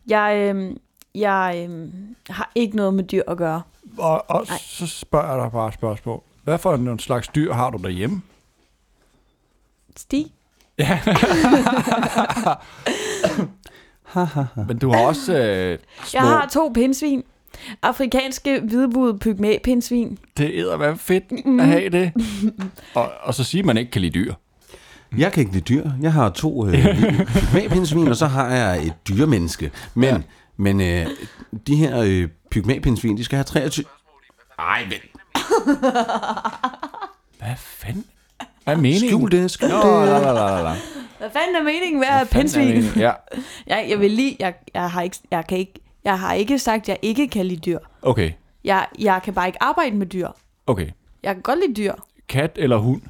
Jeg, øhm, jeg øhm, har ikke noget med dyr at gøre.
Og, og så spørger jeg dig bare et spørgsmål. Hvad for en slags dyr har du derhjemme?
Stig?
Men du har også øh, små...
Jeg har to pindsvin. Afrikanske hvidbudede pygmæpindsvin.
Det æder være
Mm-hmm.
fedt at have det. og, og så siger man ikke kan lide dyr.
Jeg kan ikke lide dyr. Jeg har to øh, pygmæpindsvin, og så har jeg et dyremenneske. Men, ja. men øh, de her øh, pygmæpindsvin, de skal have 23... Ej, vent.
Hvad fanden? Hvad er meningen?
Skjul det, skjul
Nå,
det.
la, la, la, la, la.
Hvad fanden er meningen med at have
Fanden er
pindsvin?
meningen? Ja,
Jeg, jeg vil lige... Jeg, jeg, har ikke, jeg, kan ikke, jeg har ikke sagt, at jeg ikke kan lide dyr.
okay.
Jeg, jeg kan bare ikke arbejde med dyr.
Okay.
Jeg kan godt lide dyr.
Kat eller hund?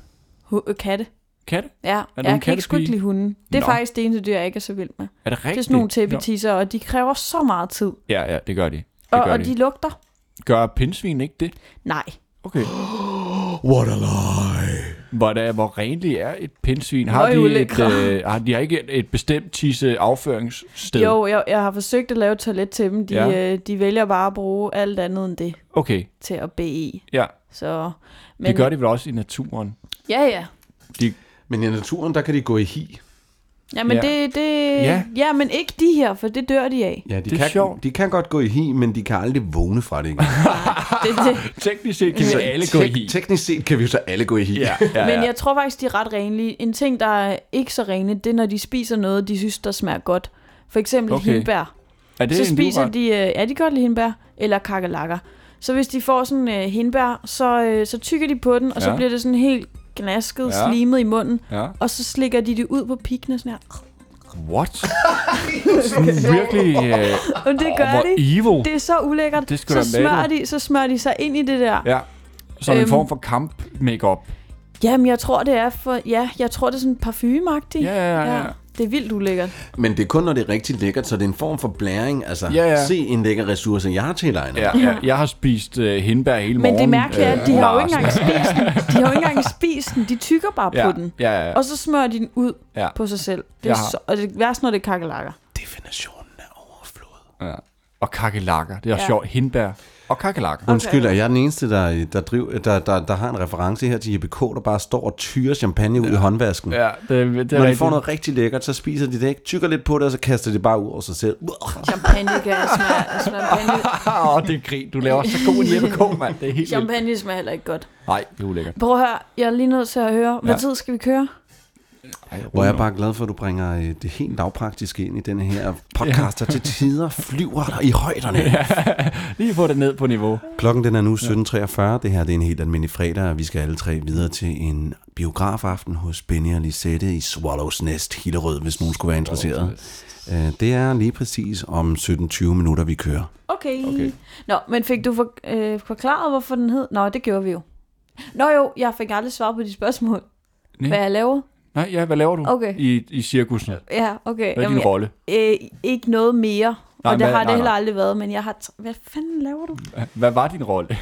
Hu- øh, katte.
Katte?
Ja,
Er du en
jeg kan ikke sgu ikke
kattepige?
lide hunden. Det er
Nå.
faktisk det eneste dyr, jeg ikke er så vild med.
Er det rigtigt?
Det er sådan nogle
Nå.
tæppetisser, og de kræver så meget tid.
Ja, ja, det gør de. Det
Og,
gør
og
de.
de lugter.
Gør pindsvin ikke det?
Nej.
Okay.
What a lie.
Hvor, der, hvor renlig er et pindsvin? Har de, et,
Nøgeulækre.
øh, har de ikke et, et bestemt tisse afføringssted?
Jo, jeg, jeg har forsøgt at lave et toilet til dem. De,
Ja.
ja. øh, de vælger bare at bruge alt andet end det
Okay,
til at bede.
ja.
Så,
Men... Det gør de vel også i naturen?
Ja, ja.
De,
Men i naturen, der kan de gå i hi.
Jamen,
Ja.
ja. Det, det,
Ja.
ja. ja, men ikke de her, for det dør de af.
Ja, de
Det er
kan,
sjovt.
De kan godt gå i hi, men de kan aldrig vågne fra det. Ikke?
Det, det.
teknisk set kan vi alle gå i hi.
Teknisk set kan vi jo så alle gå i hi.
Ja, ja, ja.
Men jeg tror faktisk, de er ret renlige. En ting, der er ikke så rene, det er, når de spiser noget, de synes, der smager godt. For eksempel
Okay.
okay. hindbær.
er det
Så
en
spiser
livret?
de, øh, ja, de kan godt lide hindbær, eller kakalakker. Så hvis de får sådan en øh, hindbær, så, øh, så tykker de på den, og ja.
Ja.
så bliver det sådan helt gnasket,
Ja.
ja. slimet i munden.
Ja.
Og så slikker de det ud på pikkene sådan her.
What? Sådan virkelig... Øh,
Og det gør
hvor
de.
evil.
Det er så ulækkert.
Det skal
så,
du have med,
smører
du.
de, så smører de sig ind i det der. Ja.
Ja. Som en
Øhm.
form for kamp makeup.
Jamen, jeg tror, det er for... Ja, jeg tror, det er sådan parfumeagtigt.
Ja, ja, ja.
Det er vildt ulækkert.
Men det er kun, når det er rigtig lækkert, så det er en form for blæring. Altså,
Ja, ja.
se en lækker ressource, jeg har tilegnet.
Ja, ja. Jeg har spist øh, hindbær hele
Men
morgen. øh,
det mærkelige er, at de har jo ikke
Larsen.
engang spist den. De har jo ikke engang spist den. De tykker bare
ja.
på den.
Ja, ja, ja.
Og så smører de den ud
Ja.
på sig selv. Det
Jeg
er
har-
så, og det værste, når det er kakelakker.
Definitionen er overflod.
ja. Og kakelakker. Det er ja.
Ja.
sjovt. Hindbær og kakelakker.
Okay.
Undskyld, er jeg den eneste, der, der, driv, der, der, der har en reference her til JBK, der bare står og tyrer champagne ud i håndvasken?
Ja, det, det er
Når de
rigtigt.
får noget rigtig lækkert, så spiser de det ikke, tykker lidt på det, og så kaster de det bare ud over sig selv.
Champagne kan smage. Champagne,
Åh, det er grin. Du laver så god en hjemmekog, mand. Det er helt vildt.
champagne smager heller ikke godt.
Nej, det er ulækkert.
Prøv at høre, jeg er lige nødt til at høre. Hvad
Ja.
tid skal vi køre?
Ej,
Hvor jeg er
rolig nu.
bare glad for, at du bringer øh, det helt lavpraktiske ind i den her podcast, der til tider flyver dig i højderne.
Lige få det ned på niveau.
Klokken den er nu 17.43. Det her det er en helt almindelig fredag, og vi skal alle tre videre til en biografaften hos Benny og Lisette i Swallows Nest, Hillerød, hvis nogen skulle være interesseret. Øh, Det er lige præcis om 17.20 minutter, vi kører.
Okay.
Okay.
okay. Nå, men fik du for, øh, forklaret, hvorfor den hed? Nå, det gjorde vi jo. Nå jo, jeg fik aldrig svar på de spørgsmål.
Nej.
Hvad jeg laver?
Nej, ja, hvad laver du
Okay.
i, i cirkusen?
Ja, okay.
Hvad er din rolle?
øh, ikke noget mere.
Nej,
Nej, og det
hvad-
har
nej,
det heller
nej.
aldrig været, men jeg har... T- Hvad fanden laver du?
Hvad var din rolle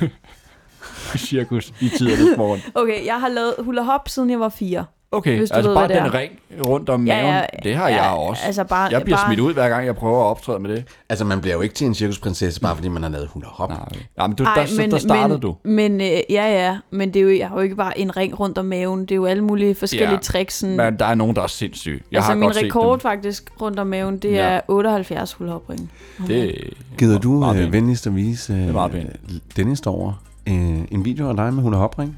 i cirkus i tidernes morgen?
Okay, jeg har lavet hula hop, siden jeg var fire.
Okay,
Hvis du
altså
ved,
bare
hvad det
den
er.
ring rundt om maven, det har jeg også.
Altså bare,
jeg bliver
bare,
smidt ud, hver gang jeg prøver at optræde med det.
Altså, man bliver jo ikke til en cirkusprinsesse, bare fordi man har lavet 100 hop.
Nej, Nej men, du, Ej, der, men, der startede
men,
men,
Men,
du.
øh, ja, ja, men det er jo, jeg har jo ikke bare en ring rundt om maven. Det er jo alle mulige forskellige
Ja,
ja, tricks. Sådan,
Men der er nogen, der er sindssyge. Jeg
Mm. altså
har
min
godt
rekord
set
faktisk rundt om maven, det
Ja.
ja. er 78 hulhopring.
dem. Det,
Gider du
Meget
øh,
pænt.
venligst at vise øh,
meget pænt.
Dennis derovre øh, en video af dig med 100 hopring?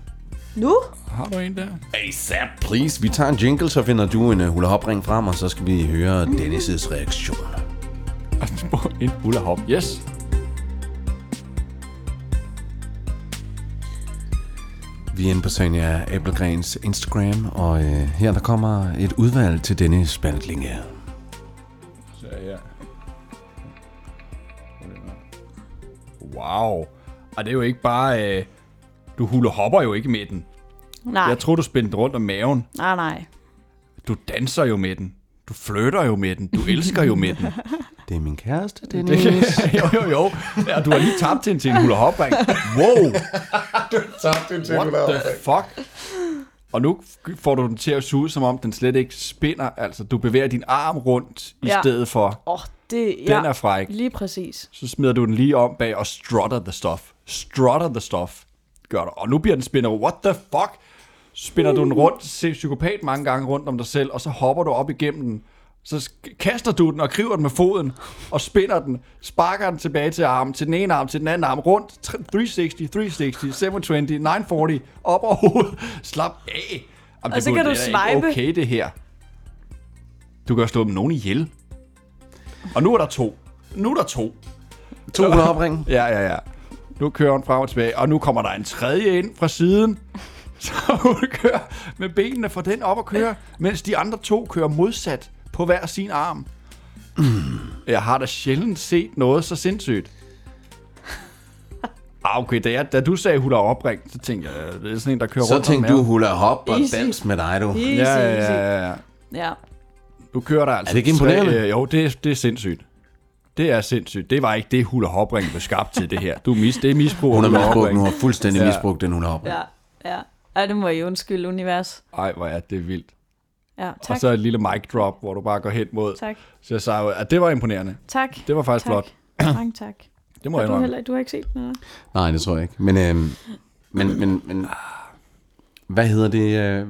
Nu?
har du en der?
ASAP, please. Vi tager en jingle, så finder du en uh, hula hopring frem, og så skal vi høre Dennis' reaktion.
en hula hop. Yes.
Vi er inde på Sonja Abelgrens Instagram, og øh, her der kommer et udvalg til denne spaltlinge.
Så ja. Wow. Og det er jo ikke bare... Øh, du hula hopper jo ikke med den.
Nej,
Jeg tror, du spændte den rundt om maven.
nej, nej.
Du danser jo med den. Du flytter jo med den. Du elsker jo med den.
Det er min kæreste, Dennis. Det
jo, jo, jo. Ja, du har lige tabt hende til en hula hoop ring. Wow,
tabte en
what the fuck? Og nu får du den til at suge, som om den slet ikke spinder. Altså, du bevæger din arm rundt i
Ja.
stedet for.
Åh, oh, det
Den
ja,
er fræk.
Lige præcis.
Så smider du den lige om bag og strutter the stuff. Strutter the stuff. Gør du. Og nu bliver den spindet. What the fuck? Spinder du den rundt, se psykopat mange gange rundt om dig selv, og så hopper du op igennem den. Så sk- kaster du den og kriver den med foden, og spinder den, sparker den tilbage til armen, til den ene arm, til den anden arm, rundt, tr- 360, 360, 720, 940, op over hovedet, slap af. Jamen,
Og så kan du swipe.
okay det her. Du kan jo slå dem nogen ihjel. Og nu er der to. Nu er der to.
To hula hopring.
Ja, ja, ja. Nu kører hun frem og tilbage, og nu kommer der en tredje ind fra siden. Så hun kører med benene fra den op og kører, mens de andre to kører modsat på hver sin arm. Jeg har da sjældent set noget så sindssygt. Ah, okay, da, jeg, da du sagde, hun er opring, så tænkte jeg, "Øh, det er sådan en, der kører
Så
rundt om
tænkte du
maven.
hula hop og
Easy.
dans med dig, du.
Easy,
Ja, ja,
easy.
ja, ja, ja.
ja.
Nu kører der altså...
Er det ikke
tre-
imponerende?
øh, jo, det, er- det er sindssygt. Det er sindssygt. Det var ikke det, hula hopringen blev skabt til, det her. Du mis, det er misbrug. af
Hun har
hula
misbrugt,
hopringen.
nu har fuldstændig
Ja.
misbrugt den hula hopring.
Ja, ja. Ej, det må I undskylde, univers.
Ej, hvor er det vildt.
Ja,
Tak. Og
tak,
så et lille mic drop, hvor du bare går hen mod
tak,
så Cesaro. At det var imponerende.
tak.
Det var faktisk
tak.
flot.
Mange tak.
Det må
Har
jeg
du,
indrømme.
heller, du har ikke set den, eller?
Nej, det tror jeg ikke. Men, øhm, men, men, men hvad hedder det? Øh?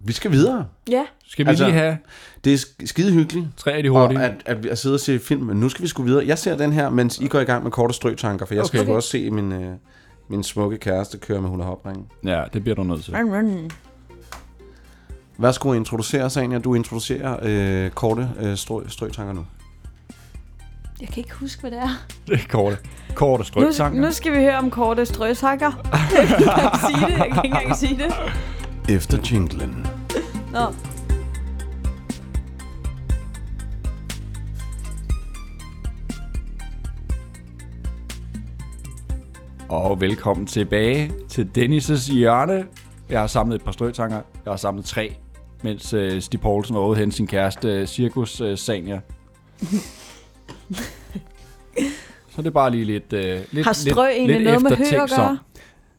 Vi skal videre.
Ja,
Skal vi
Altså-
lige have
Det er sk- skide hyggeligt.
tre af de
Og
hurtige?
at, at, at sidde og se film, men nu skal vi sgu videre. Jeg ser den her, mens I går i gang med korte strøtanker, for jeg skal
Okay.
okay. også se min, øh, min smukke kæreste køre med hula hopringen.
Ja, det bliver du nødt til.
run, run.
Værsgo, introducere sagen, og du introducerer øh, korte øh, strø, strøtanker nu.
Jeg kan ikke huske, hvad det er.
Det er korte. Korte
Nu,
strøgtanker.
nu skal vi høre om korte strøsakker. Jeg kan ikke sige det, jeg kan ikke engang sige det.
Efter jinglen.
Nå.
Og velkommen tilbage til Dennis' hjørne. Jeg har samlet et par strøgtanker. Jeg har samlet tre, mens øh, Stig Poulsen var ude hen sin kæreste øh, Cirkus øh, Sanja. Så det er bare lige lidt, øh, lidt,
Har strø
lidt,
egentlig
lidt
noget med hø at
eftertænksom.
gøre?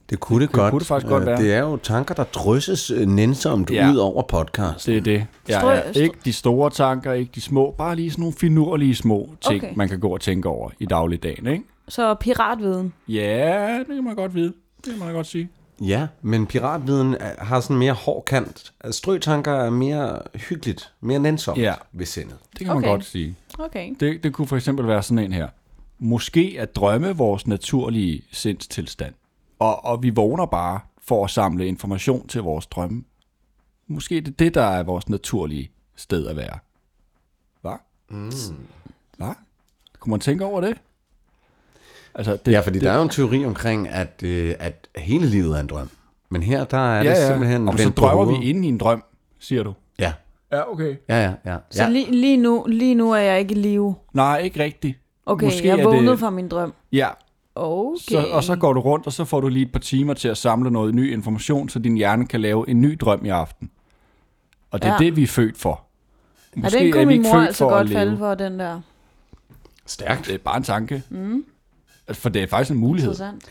Det kunne det, det godt.
kunne det faktisk godt
Øh,
være.
Det er jo tanker, der drysses øh, nænsomt
Ja.
ja. ud over podcast.
Det er det. Ja,
Strø-
ja.
strø-
Ikke de store tanker, ikke de små. Bare lige sådan nogle finurlige små ting, okay.
Okay.
man kan gå og tænke over i dagligdagen, ikke?
Så piratviden.
Ja, det kan man godt vide. Det kan man godt sige.
Ja, men piratviden er- har sådan mere hård kant. Altså, Strøtanker er mere hyggeligt, mere nænsomt
Ja.
ja. ved sindet.
Det kan okay.
Okay.
man godt sige.
Okay.
Det, det kunne for eksempel være sådan en her. Måske at drømme vores naturlige sindstilstand. Og, og vi vågner bare for at samle information til vores drømme. Måske det er det, der er vores naturlige sted at være. Hva? Mm. Hva? Kunne man tænke over det? Altså, det,
Ja, fordi det, der er jo en teori omkring, at, øh, at hele livet er en drøm. Men her, der er ja, det simpelthen
Og så
vendt på
drømmer vi
hovedet.
ind i en drøm, siger du.
Ja,
Ja, okay.
ja, ja. ja.
Så
ja.
lige, lige, nu, lige nu er jeg ikke i live.
Nej, ikke rigtigt.
Okay,
Måske
Måske jeg
er
vågnede
det-
fra min drøm.
Ja,
Okay.
så, og så går du rundt, og så får du lige et par timer til at samle noget ny information, så din hjerne kan lave en ny drøm i aften. Og det er ja.
Ja.
det, vi er født for. Måske
ja, den kunne min mor altså
at
godt
leve.
falde for, den der.
Stærkt.
Det er bare en tanke. Mm. For det er faktisk en mulighed.
Interessant.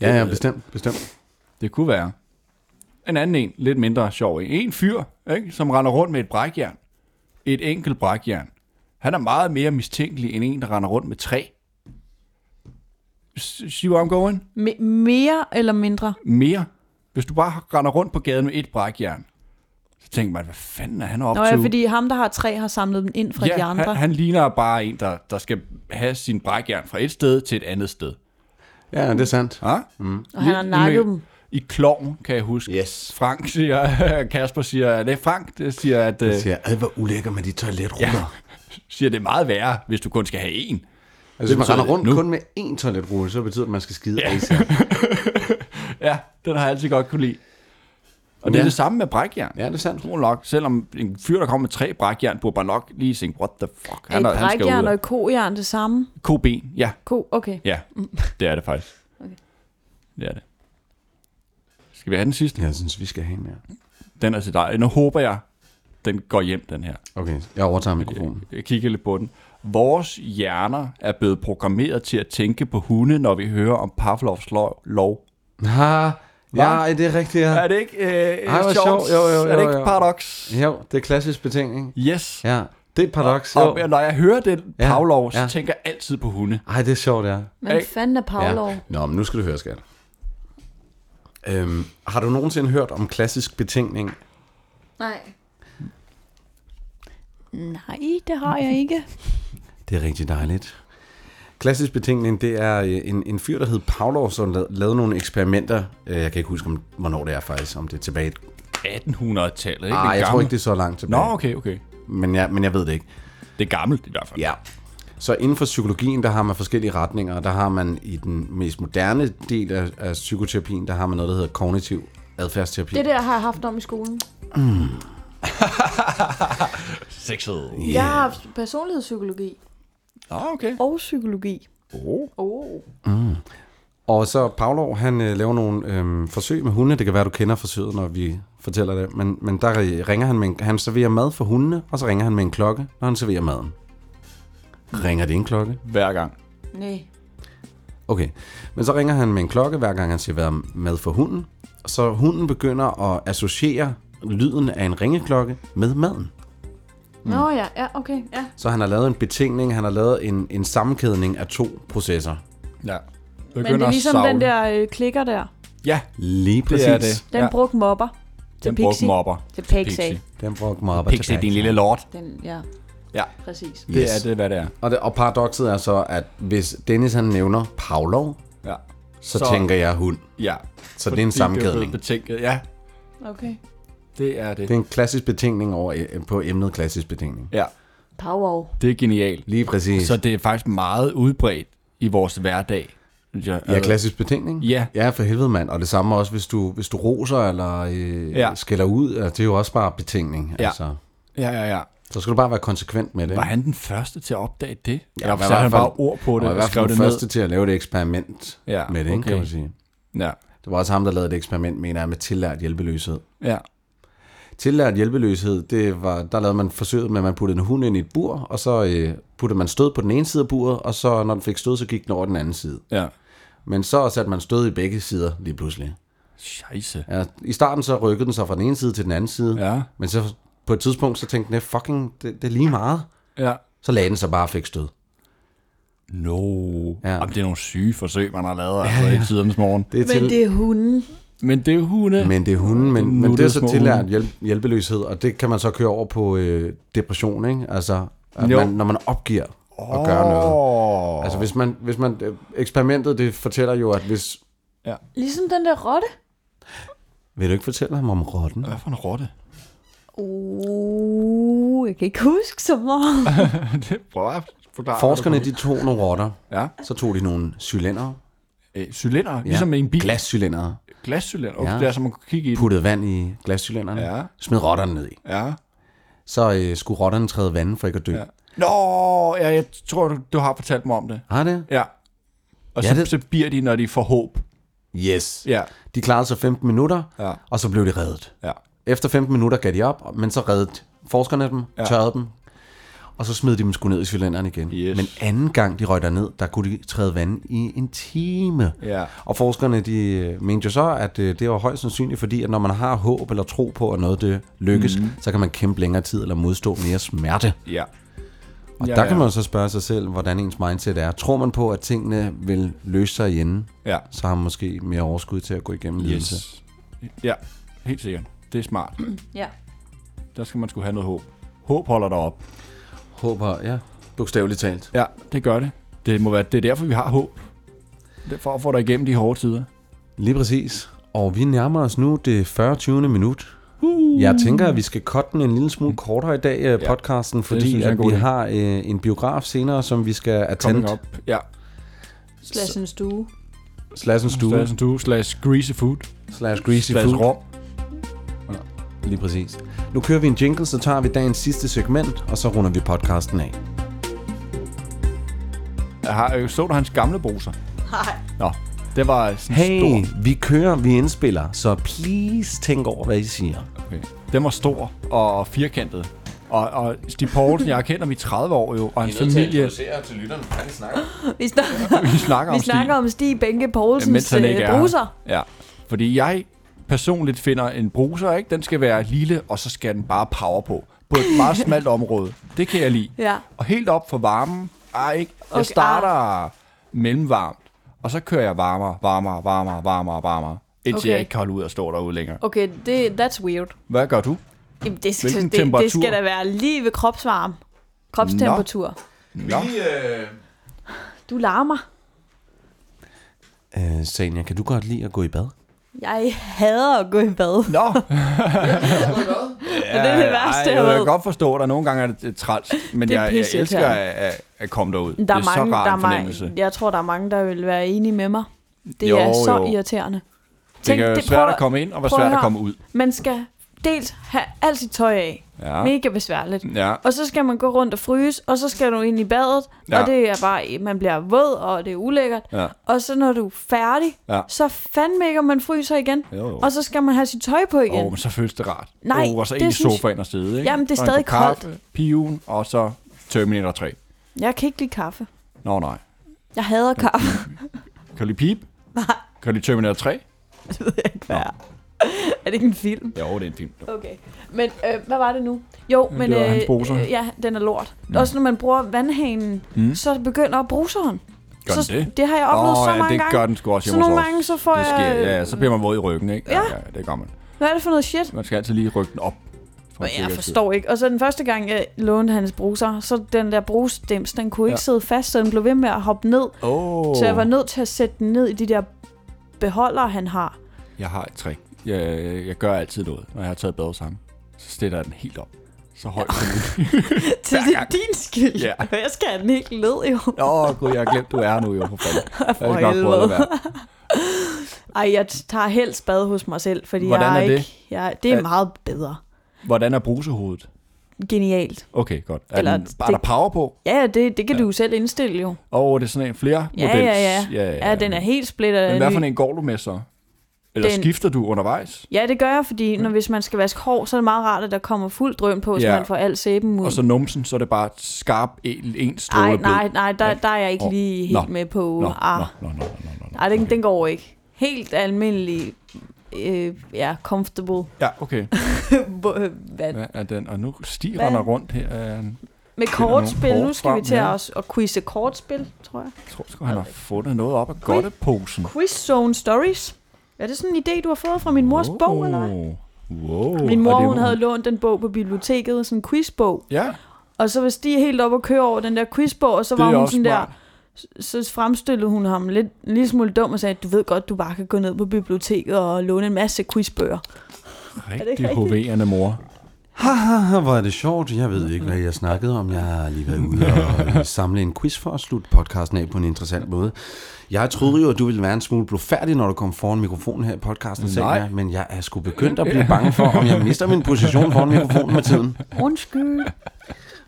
Ja, ja, bestemt, bestemt.
Det kunne være. en anden en, lidt mindre sjov en. En fyr, ikke, som render rundt med et brækjern. Et enkelt brækjern. Han er meget mere mistænkelig end en, der render rundt med tre. S- See where I'm going?
Me- mere eller mindre?
Mere. Hvis du bare render rundt på gaden med et brækjern, så tænker man, hvad fanden er han op
Nå
til?
ja, fordi ham, der har tre, har samlet dem ind fra de andre.
Han, han ligner bare en, der, der skal have sin brækjern fra et sted til et andet sted.
Ja, det er sandt.
Ah?
og han har nakket dem.
I kloven, kan jeg huske.
Yes.
Frank siger, Kasper siger, det er Frank, det siger, at, øh,
Jeg siger, ad, hvor ulækker med de toiletruller. Ja.
siger, det er meget værre, hvis du kun skal have en.
Altså, hvis man
betyder
render
det
rundt
nu.
kun med én toiletrulle, så betyder det, at man skal skide ja.
Ja, den har jeg altid godt kunne lide. Og det er
Ja.
det samme med brækjern.
Ja, det er sandt.
Tror nok, selvom en fyr, der kommer med tre brækjern, burde bare nok lige tænke, what the fuck,
Er
han,
et
er, han skal
brækjern
ud.
og
af-
et kojern det samme?
Koben, ja,
Ko, okay.
ja, det er det faktisk.
Mm. Okay.
Det er det. Skal vi have den sidste?
Jeg synes, vi skal have mere.
Den er til dig. Nu håber jeg, den går hjem, den her.
Okay, jeg overtager mikrofonen.
Jeg kigger lidt på den. Vores hjerner er blevet programmeret til at tænke på hunde, når vi hører om Pavlovs lov. lov.
Ha, ja, det er rigtigt, ja.
Er det ikke øh,
Ej, hvor
sjovt?
sjovt. Jo, jo,
er det
jo,
ikke
jo.
paradox?
Jo, det er klassisk betingning.
Yes.
Ja, det er et paradoks.
Og
Jo.
når jeg hører den
Ja,
Pavlov, så
ja.
tænker jeg altid på hunde.
Ej, det er sjovt, ja.
Men
Ikke?
fanden er Pavlov?
ja. Nå, men nu skal du høre, skat. Øhm, har du nogensinde hørt om klassisk betingning?
Nej. Nej, det har jeg ikke.
Det er rigtig dejligt. Klassisk betingning, det er øh, en, en fyr, der hed Pavlov, som la- lavede nogle eksperimenter. Øh, Jeg kan ikke huske, om, hvornår det er faktisk, om det er tilbage.
1800-tallet, ikke?
Ah,
det
jeg tror ikke, det er så langt
Nå,
tilbage.
okay, okay.
Men, jeg, men jeg ved det ikke.
Det er gammelt i hvert fald.
Ja. Så inden for psykologien, der har man forskellige retninger, og der har man i den mest moderne del af, af psykoterapien, der har man noget, der hedder kognitiv adfærdsterapi.
Det der har jeg haft om i skolen.
Sexet.
Yeah. Jeg har haft personlighedspsykologi
Nå, okay.
og psykologi.
Oh.
Oh.
Og så Pavlov, han øh, laver nogle øh, forsøg med hunde. Det kan være, du kender forsøget, når vi fortæller det. Men, men der øh, ringer han med en, Han serverer mad for hundene, og så ringer han med en klokke, når han serverer maden. Ringer det en klokke?
Hver gang.
Nej.
Mm.
Okay. Men så ringer han med en klokke, hver gang han serverer mad for hunden. Så hunden begynder at associere lyden af en ringeklokke med maden.
Nå ja, ja, okay. Ja.
Så han har lavet en betingning, han har lavet en, en sammenkædning af to processer.
Ja.
Men det er ligesom den der øh, klikker der.
Ja,
Lige præcis.
det er det.
Den ja.
ja.
brugte mopper til
den brugte
Pixie.
mopper.
Til Pixie.
Den brugte mig op ad
Pixie,
tilbage.
din lille lort.
Den, ja,
Ja,
præcis.
det
Yes.
yes. er det, hvad det er.
Og, det, og paradokset er så, at hvis Dennis han nævner Pavlov,
Ja.
så, så tænker jeg hund.
Ja.
Så det er en sammenkædning. Det
Betænket. Ja,
Okay.
det er det.
er en klassisk betingning over, eh, på emnet klassisk betingning.
Ja,
Power.
det er genialt.
Lige præcis.
Så det er faktisk meget udbredt i vores hverdag. synes jeg.
ja,
Altså,
klassisk betingning.
Ja.
Ja, for helvede mand. Og det samme også, hvis du, hvis du roser eller øh, ja.
Ja.
skælder ud. Altså, Det er jo også bare betingning.
Ja.
Altså,
Ja, ja, ja.
så skal du bare være konsekvent med det.
Var han den første til at opdage det? Ja,
var
Eller
i
var han
hvert fald-
bare ord på det
Og i
og
hvert
skrev
fald
det
den første
ned?
til at lave det eksperiment
Ja,
med det, ikke, kan
okay.
man sige.
Ja,
Det var også ham, der lavede et eksperiment, mener jeg, med tillært hjælpeløshed.
ja.
Tillært hjælpeløshed, det var, der lavede man forsøget med, at man puttede en hund ind i et bur, og så øh, puttede man stød på den ene side af buret, og så når den fik stød, så gik den over den anden side.
ja.
Men så satte man stød i begge sider lige pludselig.
Scheisse.
Ja, I starten så rykkede den sig fra den ene side til den anden side,
Ja,
men så på et tidspunkt så tænkte den, fucking, det, det er lige meget.
ja.
Så lagde den sig bare og fik stød.
No.
Ja.
Ja. Jamen, det er nogle syge forsøg, man har lavet altså, ja, ja. i tidernes morgen.
Det er
Men det er hunden.
Men det er hunde.
men det er hunden,
Det
men,
er
men det er
nuttede
så
små
tillært
hunde.
hjælp, hjælpeløshed, og det kan man så køre over på øh, depression, ikke? Altså, at
Jo.
man, når man opgiver at gøre noget. Altså hvis man, hvis man, øh, eksperimentet det fortæller jo, at hvis...
Ligesom den der rotte.
Vil du ikke fortælle ham om rotten?
Hvad for en rotte?
Uh, jeg kan ikke huske så meget.
det prøver jeg at forklare.
Forskerne de tog nogle rotter,
Ja.
så tog de nogle cylindere,
Øh, cylinder, ja. ligesom i en bil.
glascylindere,
Glascylinder. Okay,
Ja.
ja. Det er, som man kan kigge i. den.
puttede vand i glascylinderne,
Ja.
smed rotterne ned i.
Ja.
Så øh, skulle rotterne træde vandet for ikke at dø.
ja. Nå, ja, jeg tror, du, du har fortalt mig om det.
Har det?
Ja. Og
Ja,
ja, så,
det-
det... så bliver de, når de får håb.
Yes.
Ja.
De klarede sig 15 minutter,
Ja.
og så blev de reddet.
Ja.
Efter 15 minutter gav de op, men så reddede forskerne dem, ja. tørrede dem. og så smed de dem sgu ned i cylinderen igen.
Yes.
Men anden gang de røg derned, der kunne de træde vand i en time.
Ja.
Og forskerne de øh, mente jo så, at øh, det var højst sandsynligt, fordi at når man har håb eller tro på, at noget det lykkes,
Mhm.
mm. så kan man kæmpe længere tid eller modstå mere smerte.
Ja.
Og
Ja,
ja, der
ja.
kan man jo så spørge sig selv, hvordan ens mindset er. Tror man på, at tingene vil løse sig i enden,
Ja.
så har man måske mere overskud til at gå igennem lidelse.
Yes. Ja, helt sikkert. Det er smart.
Ja.
Der skal man skulle have noget håb. Håb holder dig op.
Håber, ja. Bogstaveligt talt.
Ja, det gør det. Det må være, det er derfor, vi har håb. Det er for at få dig igennem de hårde tider.
Lige præcis. Og vi nærmer os nu det 40. 20. minut. Jeg tænker, at vi skal cutte den en lille smule kortere i dag, øh, podcasten, fordi
synes jeg er en
at
god
vi
idé.
har øh, en biograf senere, som vi skal
Coming
attend.
up. Ja.
Slash en stue.
Slash en stue,
Slash du, slash greasy food,
slash greasy
slash
food.
rom.
Lige præcis. Nu kører vi en jingle, så tager vi dagens sidste segment, og så runder vi podcasten af.
Jeg har jo så du hans gamle bruser.
Nej.
Nå, det var sådan
Hey,
stor.
vi kører, vi indspiller, så please tænk over, hvad I siger.
Okay. Den var stor og firkantet. Og, og Stig Poulsen, jeg kender ham i 30 år jo, og hans familie,
til lytterne, hvad de snakker
Vi snakker,
vi snakker om
vi snakker om Stig Benke Poulsens
Mens han ikke
ja,
er her.
bruser.
Ja, fordi jeg personligt finder en bruser, ikke? Den skal være lille, og så skal den bare power på. På et meget smalt område. Det kan jeg lide.
Ja.
Og helt op for varmen. Ej, ikke? Jeg
Okay, ah.
starter mellemvarmt, og så kører jeg varmere, varmere, varmere, varmere, varmere. Indtil
Okay.
jeg ikke kan holde ud og stå derude længere.
Okay, det, that's weird.
Hvad gør du?
Jamen, det, skal,
Hvilken
det, det
temperatur?
skal da være lige ved kropsvarme. Kropstemperatur. Nå.
Nå,
Du larmer.
Øh, Sanja, kan du godt lide at gå i bad?
Jeg hader at gå i bad.
Nå.
Ja, det er det værste, jeg
jeg kan
ved.
godt forstå, at der nogle gange er det træls, men
Det er
jeg, jeg
pisse
elsker
irriterende.
at, at, at komme derud.
Der er,
det er
mange,
så rar
der er
en fornemmelse.
mange, jeg tror, der er mange, der vil være enige med mig. Det
Jo,
er så
jo.
irriterende.
det kan være svært
prøv
at komme ind, og være
prøv
svært at
høre.
komme ud.
Man skal dels have alt sit tøj af.
Ja.
Mega besværligt.
Ja.
Og så skal man gå rundt og fryse, og så skal du ind i badet,
Ja.
ja. og det er bare, man bliver våd, og det er ulækkert.
Ja.
Og så når du er færdig,
Ja.
så fandme ikke, om man fryser igen.
Jo, jo.
Og så skal man have sit tøj på igen.
Åh, oh, men så føles det rart.
Nej,
oh, og så
det
ind i
synes-
sofaen og sidde, ikke?
Jamen, det er
Og en
stadig
kop kaffe, Piven, og så Terminator 3.
Jeg kan ikke lide kaffe.
Nå, nej.
Jeg hader kaffe.
Kan du lide Pip? Nej. Kan du lide Terminator 3?
Det ved jeg ikke, hvad er. er det ikke en film?
Jo, det er en film.
Okay. Men øh, hvad var det nu? Jo, men...
det var hans bruser.
øh, ja, den er lort. Mm. Også når man bruger vandhanen, mm. så begynder bruseren.
Gør
så,
den det?
Det har jeg oplevet
Åh,
så
ja,
mange
det
gange.
gør den sgu også
Så
hjemme hos
nogle
os.
gange, så får
Det sker,
jeg...
ja, så bliver man våd i ryggen, ikke?
Ja.
ja det gør man.
Hvad er det for noget shit?
Man skal altid lige rykke den op. For
Men jeg
sikkerheds skyld.
forstår ikke. Og så den første gang, jeg lånte hans bruser, så den der brusdims, den kunne ikke
Ja.
sidde fast, så den blev ved med at hoppe ned.
Åh, oh,
Så jeg var nødt til at sætte den ned i de der beholdere, han har.
jeg har et trick. Jeg, jeg gør altid noget, når jeg har taget bad sammen. Så stiller jeg den helt op. Så højt som muligt.
Så det er din skyld.
Ja.
Og jeg skal have den helt ned i hovedet.
Åh, oh, gud, jeg har glemt, du er nu jo, for fanden. Jeg skal nok prøve
helvede.
at være.
Ej, jeg tager helst bad hos mig selv, fordi
Hvordan
jeg
er det?
ikke... Jeg, det er
Er-
meget bedre.
Hvordan er brusehovedet?
Genialt.
Okay, godt. Er,
Eller
den, er
det-
der power på?
Ja, ja, det, det kan ja. du jo selv indstille jo.
Og oh, det er sådan en flere
Ja,
models.
ja, ja, ja. Ja, den er helt splitter.
Men hvad for en går du med så? Eller den...
Den-
skifter du undervejs?
Ja, det gør jeg, fordi når, hvis man skal vaske hår, så er det meget rart, at der kommer fuld drøm på, ja. så
Ja.
man får al sæben ud.
Og så numsen, så er det bare et skarp, en, en stråle
Nej,
blod.
nej, nej, der, der er jeg ikke
Åh,
lige
nå,
helt med på.
Nå,
ah,
nå, nå, nå, nå, nå, nå.
Nej, den, den går ikke. Helt almindelig, øh, ja, comfortable
Ja, okay.
vand.
Ja, er den, og nu stiger
Hvad?
han rundt her. øh, Jeg
Med
Finder nogle
kortspil, nu
kort
skal vi
frem
til
her.
os at quizze kortspil, tror jeg.
tror sgu, han har fundet noget op af godteposen.
Quiz Zone Stories. Er det sådan en idé, du har fået fra min mors bog, eller hvad?
hvad? Wow.
Min
Og
mor,
det
hun
var-
havde lånt den bog på biblioteket, sådan en quizbog.
Ja,
Og så var Stig helt op og køre over den der quizbog, og så
det
var
er
hun
også
sådan der...
smart.
så fremstillede hun ham lidt, en lille smule dum og sagde, du ved godt, du bare kan gå ned på biblioteket og låne en masse quizbøger. ikke
Rigtig
rigtigt?
hoverende mor.
Haha, hvor er det sjovt. Jeg ved ikke, hvad jeg snakkede om. Jeg har lige været ude og øh, samle en quiz for at slutte podcasten af på en interessant måde. Jeg troede jo, at du ville være en smule blufærdig, når du kom foran mikrofonen her i podcasten,
Nej.
Sanja, men jeg er sgu begyndt at blive bange for, om jeg mister min position foran mikrofonen med tiden.
Undskyld,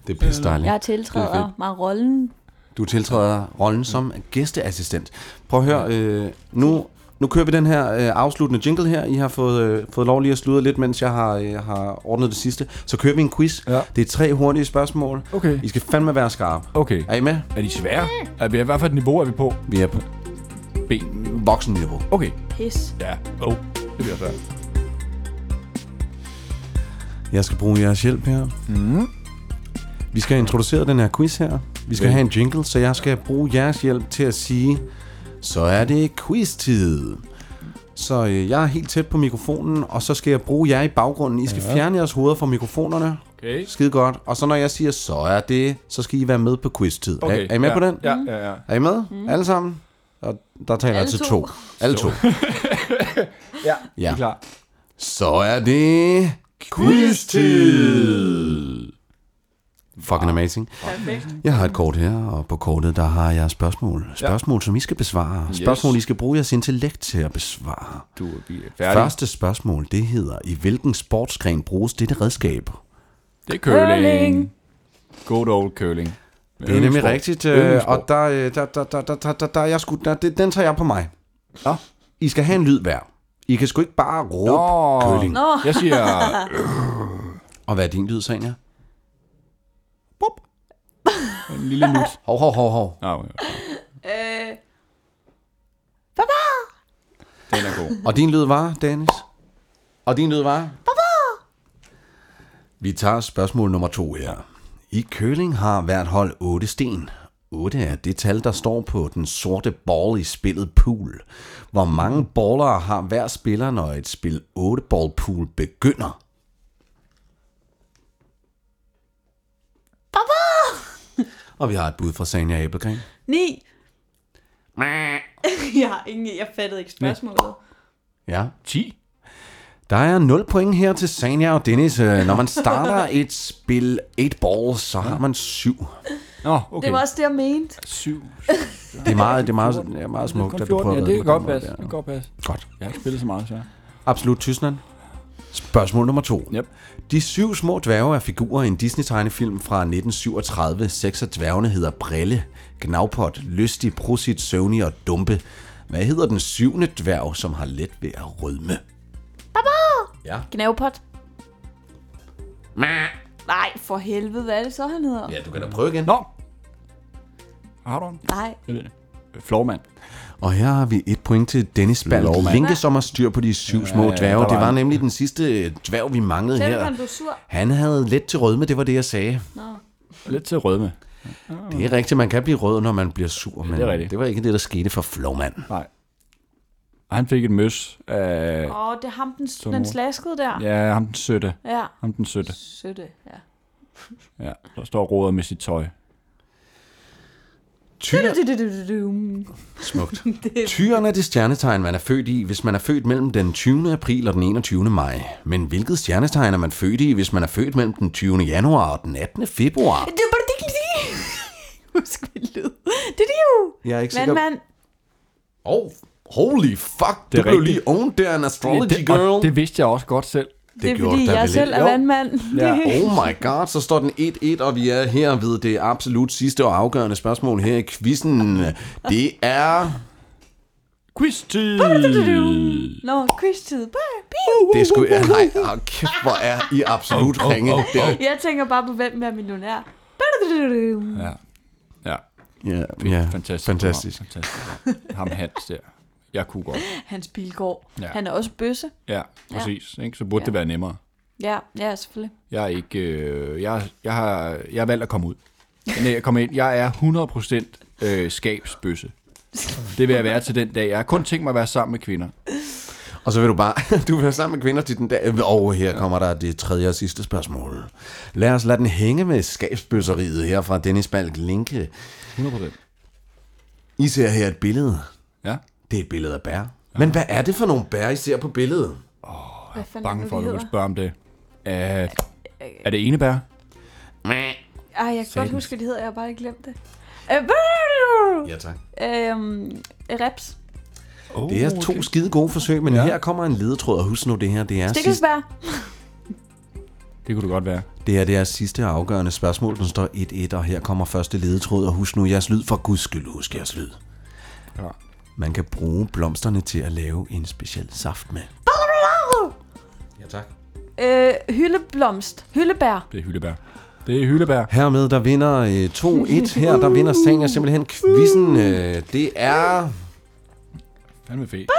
Det er pisse dejligt.
jeg tiltræder mig rollen.
Du tiltræder rollen som gæsteassistent. Prøv at høre, øh, nu Nu kører vi den her øh, afsluttende jingle her. I har fået, øh, fået lov lige at sludre lidt, mens jeg har, øh, har ordnet det sidste. Så kører vi en quiz.
Ja.
Det er tre hurtige spørgsmål.
Okay.
I skal fandme være skarpe.
Okay.
Er I med?
Er de svære? Er vi, hvad for et niveau er vi på?
Vi er på
B.
voksenniveau.
Okay.
Pis.
Ja. Oh. Det bliver svært.
Jeg skal bruge jeres hjælp her. Mm. Vi skal introducere den her quiz her. Vi skal
Vel.
have en jingle, så jeg skal bruge jeres hjælp til at sige, så er det quiz-tid. Så øh, jeg er helt tæt på mikrofonen, og så skal jeg bruge jer i baggrunden. I skal ja. fjerne jeres hoveder fra mikrofonerne.
Okay.
Skide godt. Og så når jeg siger, så er det, så skal I være med på quiz-tid. Okay. Er, er I med
ja.
på den?
Ja, ja, ja.
Er I med? Mm. Alle sammen? Og der taler jeg
Alle
til
to.
to. Alle to.
Ja,
Ja.
ja. klar.
Så er det quiz-tid! Fucking amazing.
Perfekt.
Jeg har et kort her, og på kortet der har jeg spørgsmål. Spørgsmål, som I skal besvare. Spørgsmål, I skal bruge jeres intellekt til at besvare.
Du er
Ja,
færdig.
Første spørgsmål, det hedder, i hvilken sportsgren bruges dette redskab?
Det er curling.
Curling.
Good old curling.
Det er nemlig rigtigt, øh,
Yndlingssport.
og der, øh, der, der, der, der, der, der, der er jeg sgu, der, det, den tager jeg på mig. Ja. I skal have en lyd hver. I kan sgu ikke bare råbe
Nå.
curling.
Nå,
Jeg siger... øh,
Og hvad er din lyd, Sanja?
Pop. En lille nut.
Hov, hov, hov, hov.
Nå, okay.
øh,
den er god.
Og din lyd var, Dennis? Og din lyd var? Baba! Vi tager spørgsmål nummer to her. I curling har hvert hold otte sten. 8 er det tal, der står på den sorte ball i spillet pool. Hvor mange baller har hver spiller, når et spil 8 ball pool begynder? Baba! Og vi har et bud fra Sanja Abelgren.
ni. Jeg har ingen, jeg fattede ikke spørgsmålet.
Ja.
10.
Der er 0 point her til Sanja og Dennis. Øh, Når man starter et spil 8 ball, så har man 7.
Nå, okay.
Det var også det, jeg mente.
7.
Det er meget, det er meget, det er meget smukt, at du prøver
ja,
at
det
redde
kan
på den
godt
måde
passe. Det
der.
kan godt passe.
Godt.
Jeg har ikke spillet så meget, så.
Absolut Tyskland. Spørgsmål nummer to.
Yep.
De syv små dværge er figurer i en Disney-tegnefilm fra 1937. Seks af dværgene hedder Brille, Gnavpot, Lystig, Prusit, Søvnig og Dumpe. Hvad hedder den syvende dværg, som har let ved at rødme?
Gnavpot. Nej, for helvede, hvad er det så, han hedder?
Ja, du kan da prøve igen.
Nå. Har du den?
Nej,
Jeg ved det. Øh, Flormand.
Og her har vi et point til Dennis
Lov,
Bald
mand.
Linke, som har styr på de syv små
ja,
dværge.
der
det
var
var
en.
nemlig den sidste øh, dværg, vi manglede
den
her.
han blev sur.
Han havde let til rødme, det var det, jeg sagde.
Lidt til rødme.
Det
Mm.
er rigtigt, man kan blive rød, når man bliver sur, men
det er rigtigt.
det var ikke det, der skete for Flowman.
Nej. Og han fik et møs af...
Åh, det er ham, den,
mor.
den slaskede der.
Ja, ham den søtte.
Ja.
Ham den søtte.
Sødte, ja.
Ja, der står og roder med sit tøj.
Tyr,
Du-du-du-du-du-dum.
smukt. Tyren er det stjernetegn, man er født i, hvis man er født mellem den 20. april og den 21. maj. Men hvilket stjernetegn er man født i, hvis man er født mellem den 20. januar og den 18. februar?
Det var det, det Husk min lyd. Det er det jo.
Jeg er ikke
Mand,
sikker.
mand.
Oh, holy fuck,
Det
det
er
du blev
rigtigt.
lige owned der, en astrology
det, og
girl.
det vidste jeg også godt selv.
Det er
gjorde
fordi,
der
jeg
vel
selv
ikke?
er
Jo.
vandmand.
Ja.
Oh my god, så står den 1-1, og vi er her ved det absolut sidste og afgørende spørgsmål her i quizzen. Det er...
Quiz-tid!
Nå, quiz-tid. Bare, piu.
Det er sgu... Ja, nej, oh, kæft, hvor er I absolut ringe. Det er-
Jeg tænker bare på, hvem er millionær. Du-du-du-du-dum.
Ja. Ja,
Ja, ja,
fantastisk.
fantastisk.
program. Fantastisk. ja. Ham Hans der. Jeg kunne godt.
Hans Bilgaard.
Ja.
Han er også bøsse.
Ja, præcis. Ikke? Så burde ja. det være nemmere.
Ja, ja, selvfølgelig.
Jeg er ikke... Øh, jeg, jeg, har, jeg har valgt at komme ud. Nej, jeg kommer ind. Jeg er 100% øh, skabsbøsse. Det vil jeg være til den dag. Jeg har kun tænkt mig at være sammen med kvinder.
Og så vil du bare... Du vil være sammen med kvinder til den dag... Og her kommer der det tredje og sidste spørgsmål. Lad os lade den hænge med skabsbøsseriet her fra Dennis Balk Linke.
100%.
I ser her et billede.
Ja.
Det er et billede af bær. Men hvad er det for nogle bær, I ser på billedet?
Hvad fanden er
Bange
det,
for, at
de
du
hedder?
vil spørge om det. Er, er det enebær?
Ej, jeg kan godt
Satans.
huske, hvad det hedder. Jeg har bare ikke glemt det. Øh, brrrr.
Ja, tak.
Øhm, reps.
Oh,
Det er to skide gode forsøg, men ja. her kommer en ledetråd, og husk nu det her, det er, sidste,
Stikkelsbær.
Det kunne det godt være.
det her det er sidste og afgørende spørgsmål, den står 1-1, og her kommer første ledetråd, og husk nu jeres lyd, for guds skyld husk jeres lyd.
Ja.
Man kan bruge blomsterne til at lave en speciel saft med.
Ja, tak.
Øh, hyldeblomst. Hyldebær.
Det er hyldebær. Det er hyldebær.
Hermed, der vinder øh, 2-1 her. Der vinder Stania simpelthen quizzen. Øh, det er...
Fandme fedt.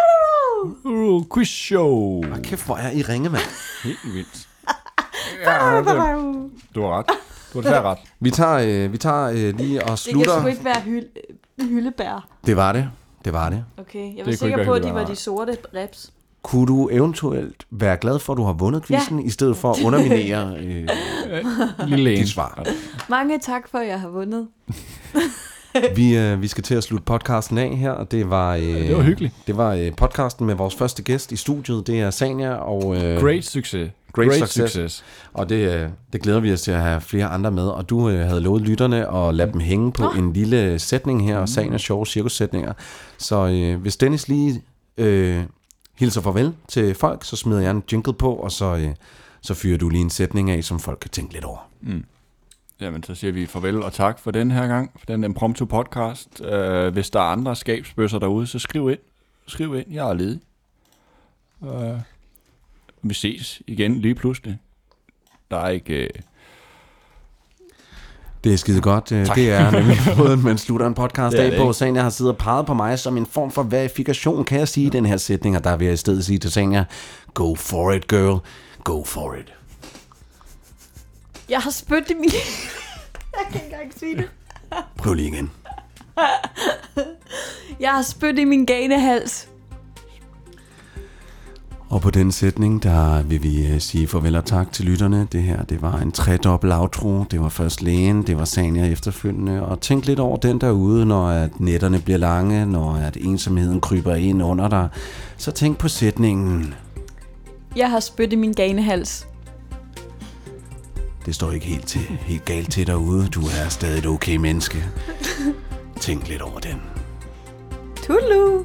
Uh, quiz show.
Kæft, hvor er I ringe, mand.
Helt vildt. Ja, det, du har ret. Du har desværre ret.
Vi tager, øh, vi tager øh, lige og
Det kan
slutter.
sgu ikke være hyld, hyldebær.
Det var det. Det var det.
Okay, jeg var
kunne ikke
sikker
være
på, at de
hyldebær,
var
nej.
de sorte reps.
Kunne du eventuelt være glad for, at du har vundet quizzen, ja. i stedet for at underminere øh,
Lille en.
dit svar?
Mange tak for, at jeg har vundet.
Vi, øh, vi skal til at slutte podcasten af her, og det var... Øh, det
var hyggeligt.
Det var øh, podcasten med vores første gæst i studiet, det er Sanja, og, øh,
Great succes.
Great success. og det, øh, det glæder vi os til at have flere andre med. Og du øh, havde lovet lytterne at lade dem hænge på en lille sætning her, og Sanjas sjove cirkussætninger. Så øh, hvis Dennis lige øh, hilser farvel til folk, så smider jeg en jingle på, og så, øh, så fyrer du lige en sætning af, som folk kan tænke lidt over.
Jamen, så siger vi farvel og tak for den her gang, for den impromptu podcast. Uh, hvis der er andre skabsbøsser derude, så skriv ind. Skriv ind, jeg er ledig. Uh, vi ses igen lige pludselig. Der er ikke... Uh,
Det er skide godt. Øh, Det er nemlig måden, man slutter en podcast
Det er
af
det
på.
ikke.
Sanja har siddet og peget på mig som en form for verifikation, kan jeg sige, i den her sætning. Og der vil jeg i stedet sige til Sanja, go for it, girl. Go for it.
Jeg har spyttet i min... jeg kan ikke engang sige det.
Prøv lige igen.
Jeg har spyttet i min ganehals.
Og på den sætning, der vil vi øh, sige farvel og tak til lytterne. Det her, det var en tredobbelt outro. Det var først lægen, det var Sanja efterfølgende. Og tænk lidt over den derude, når at nætterne bliver lange, når at ensomheden kryber ind under dig. Så tænk på sætningen.
Jeg har spyttet i min ganehals.
Det står ikke helt, til, helt galt til derude. Du er stadig et okay menneske. Tænk lidt over den.
Tudelu!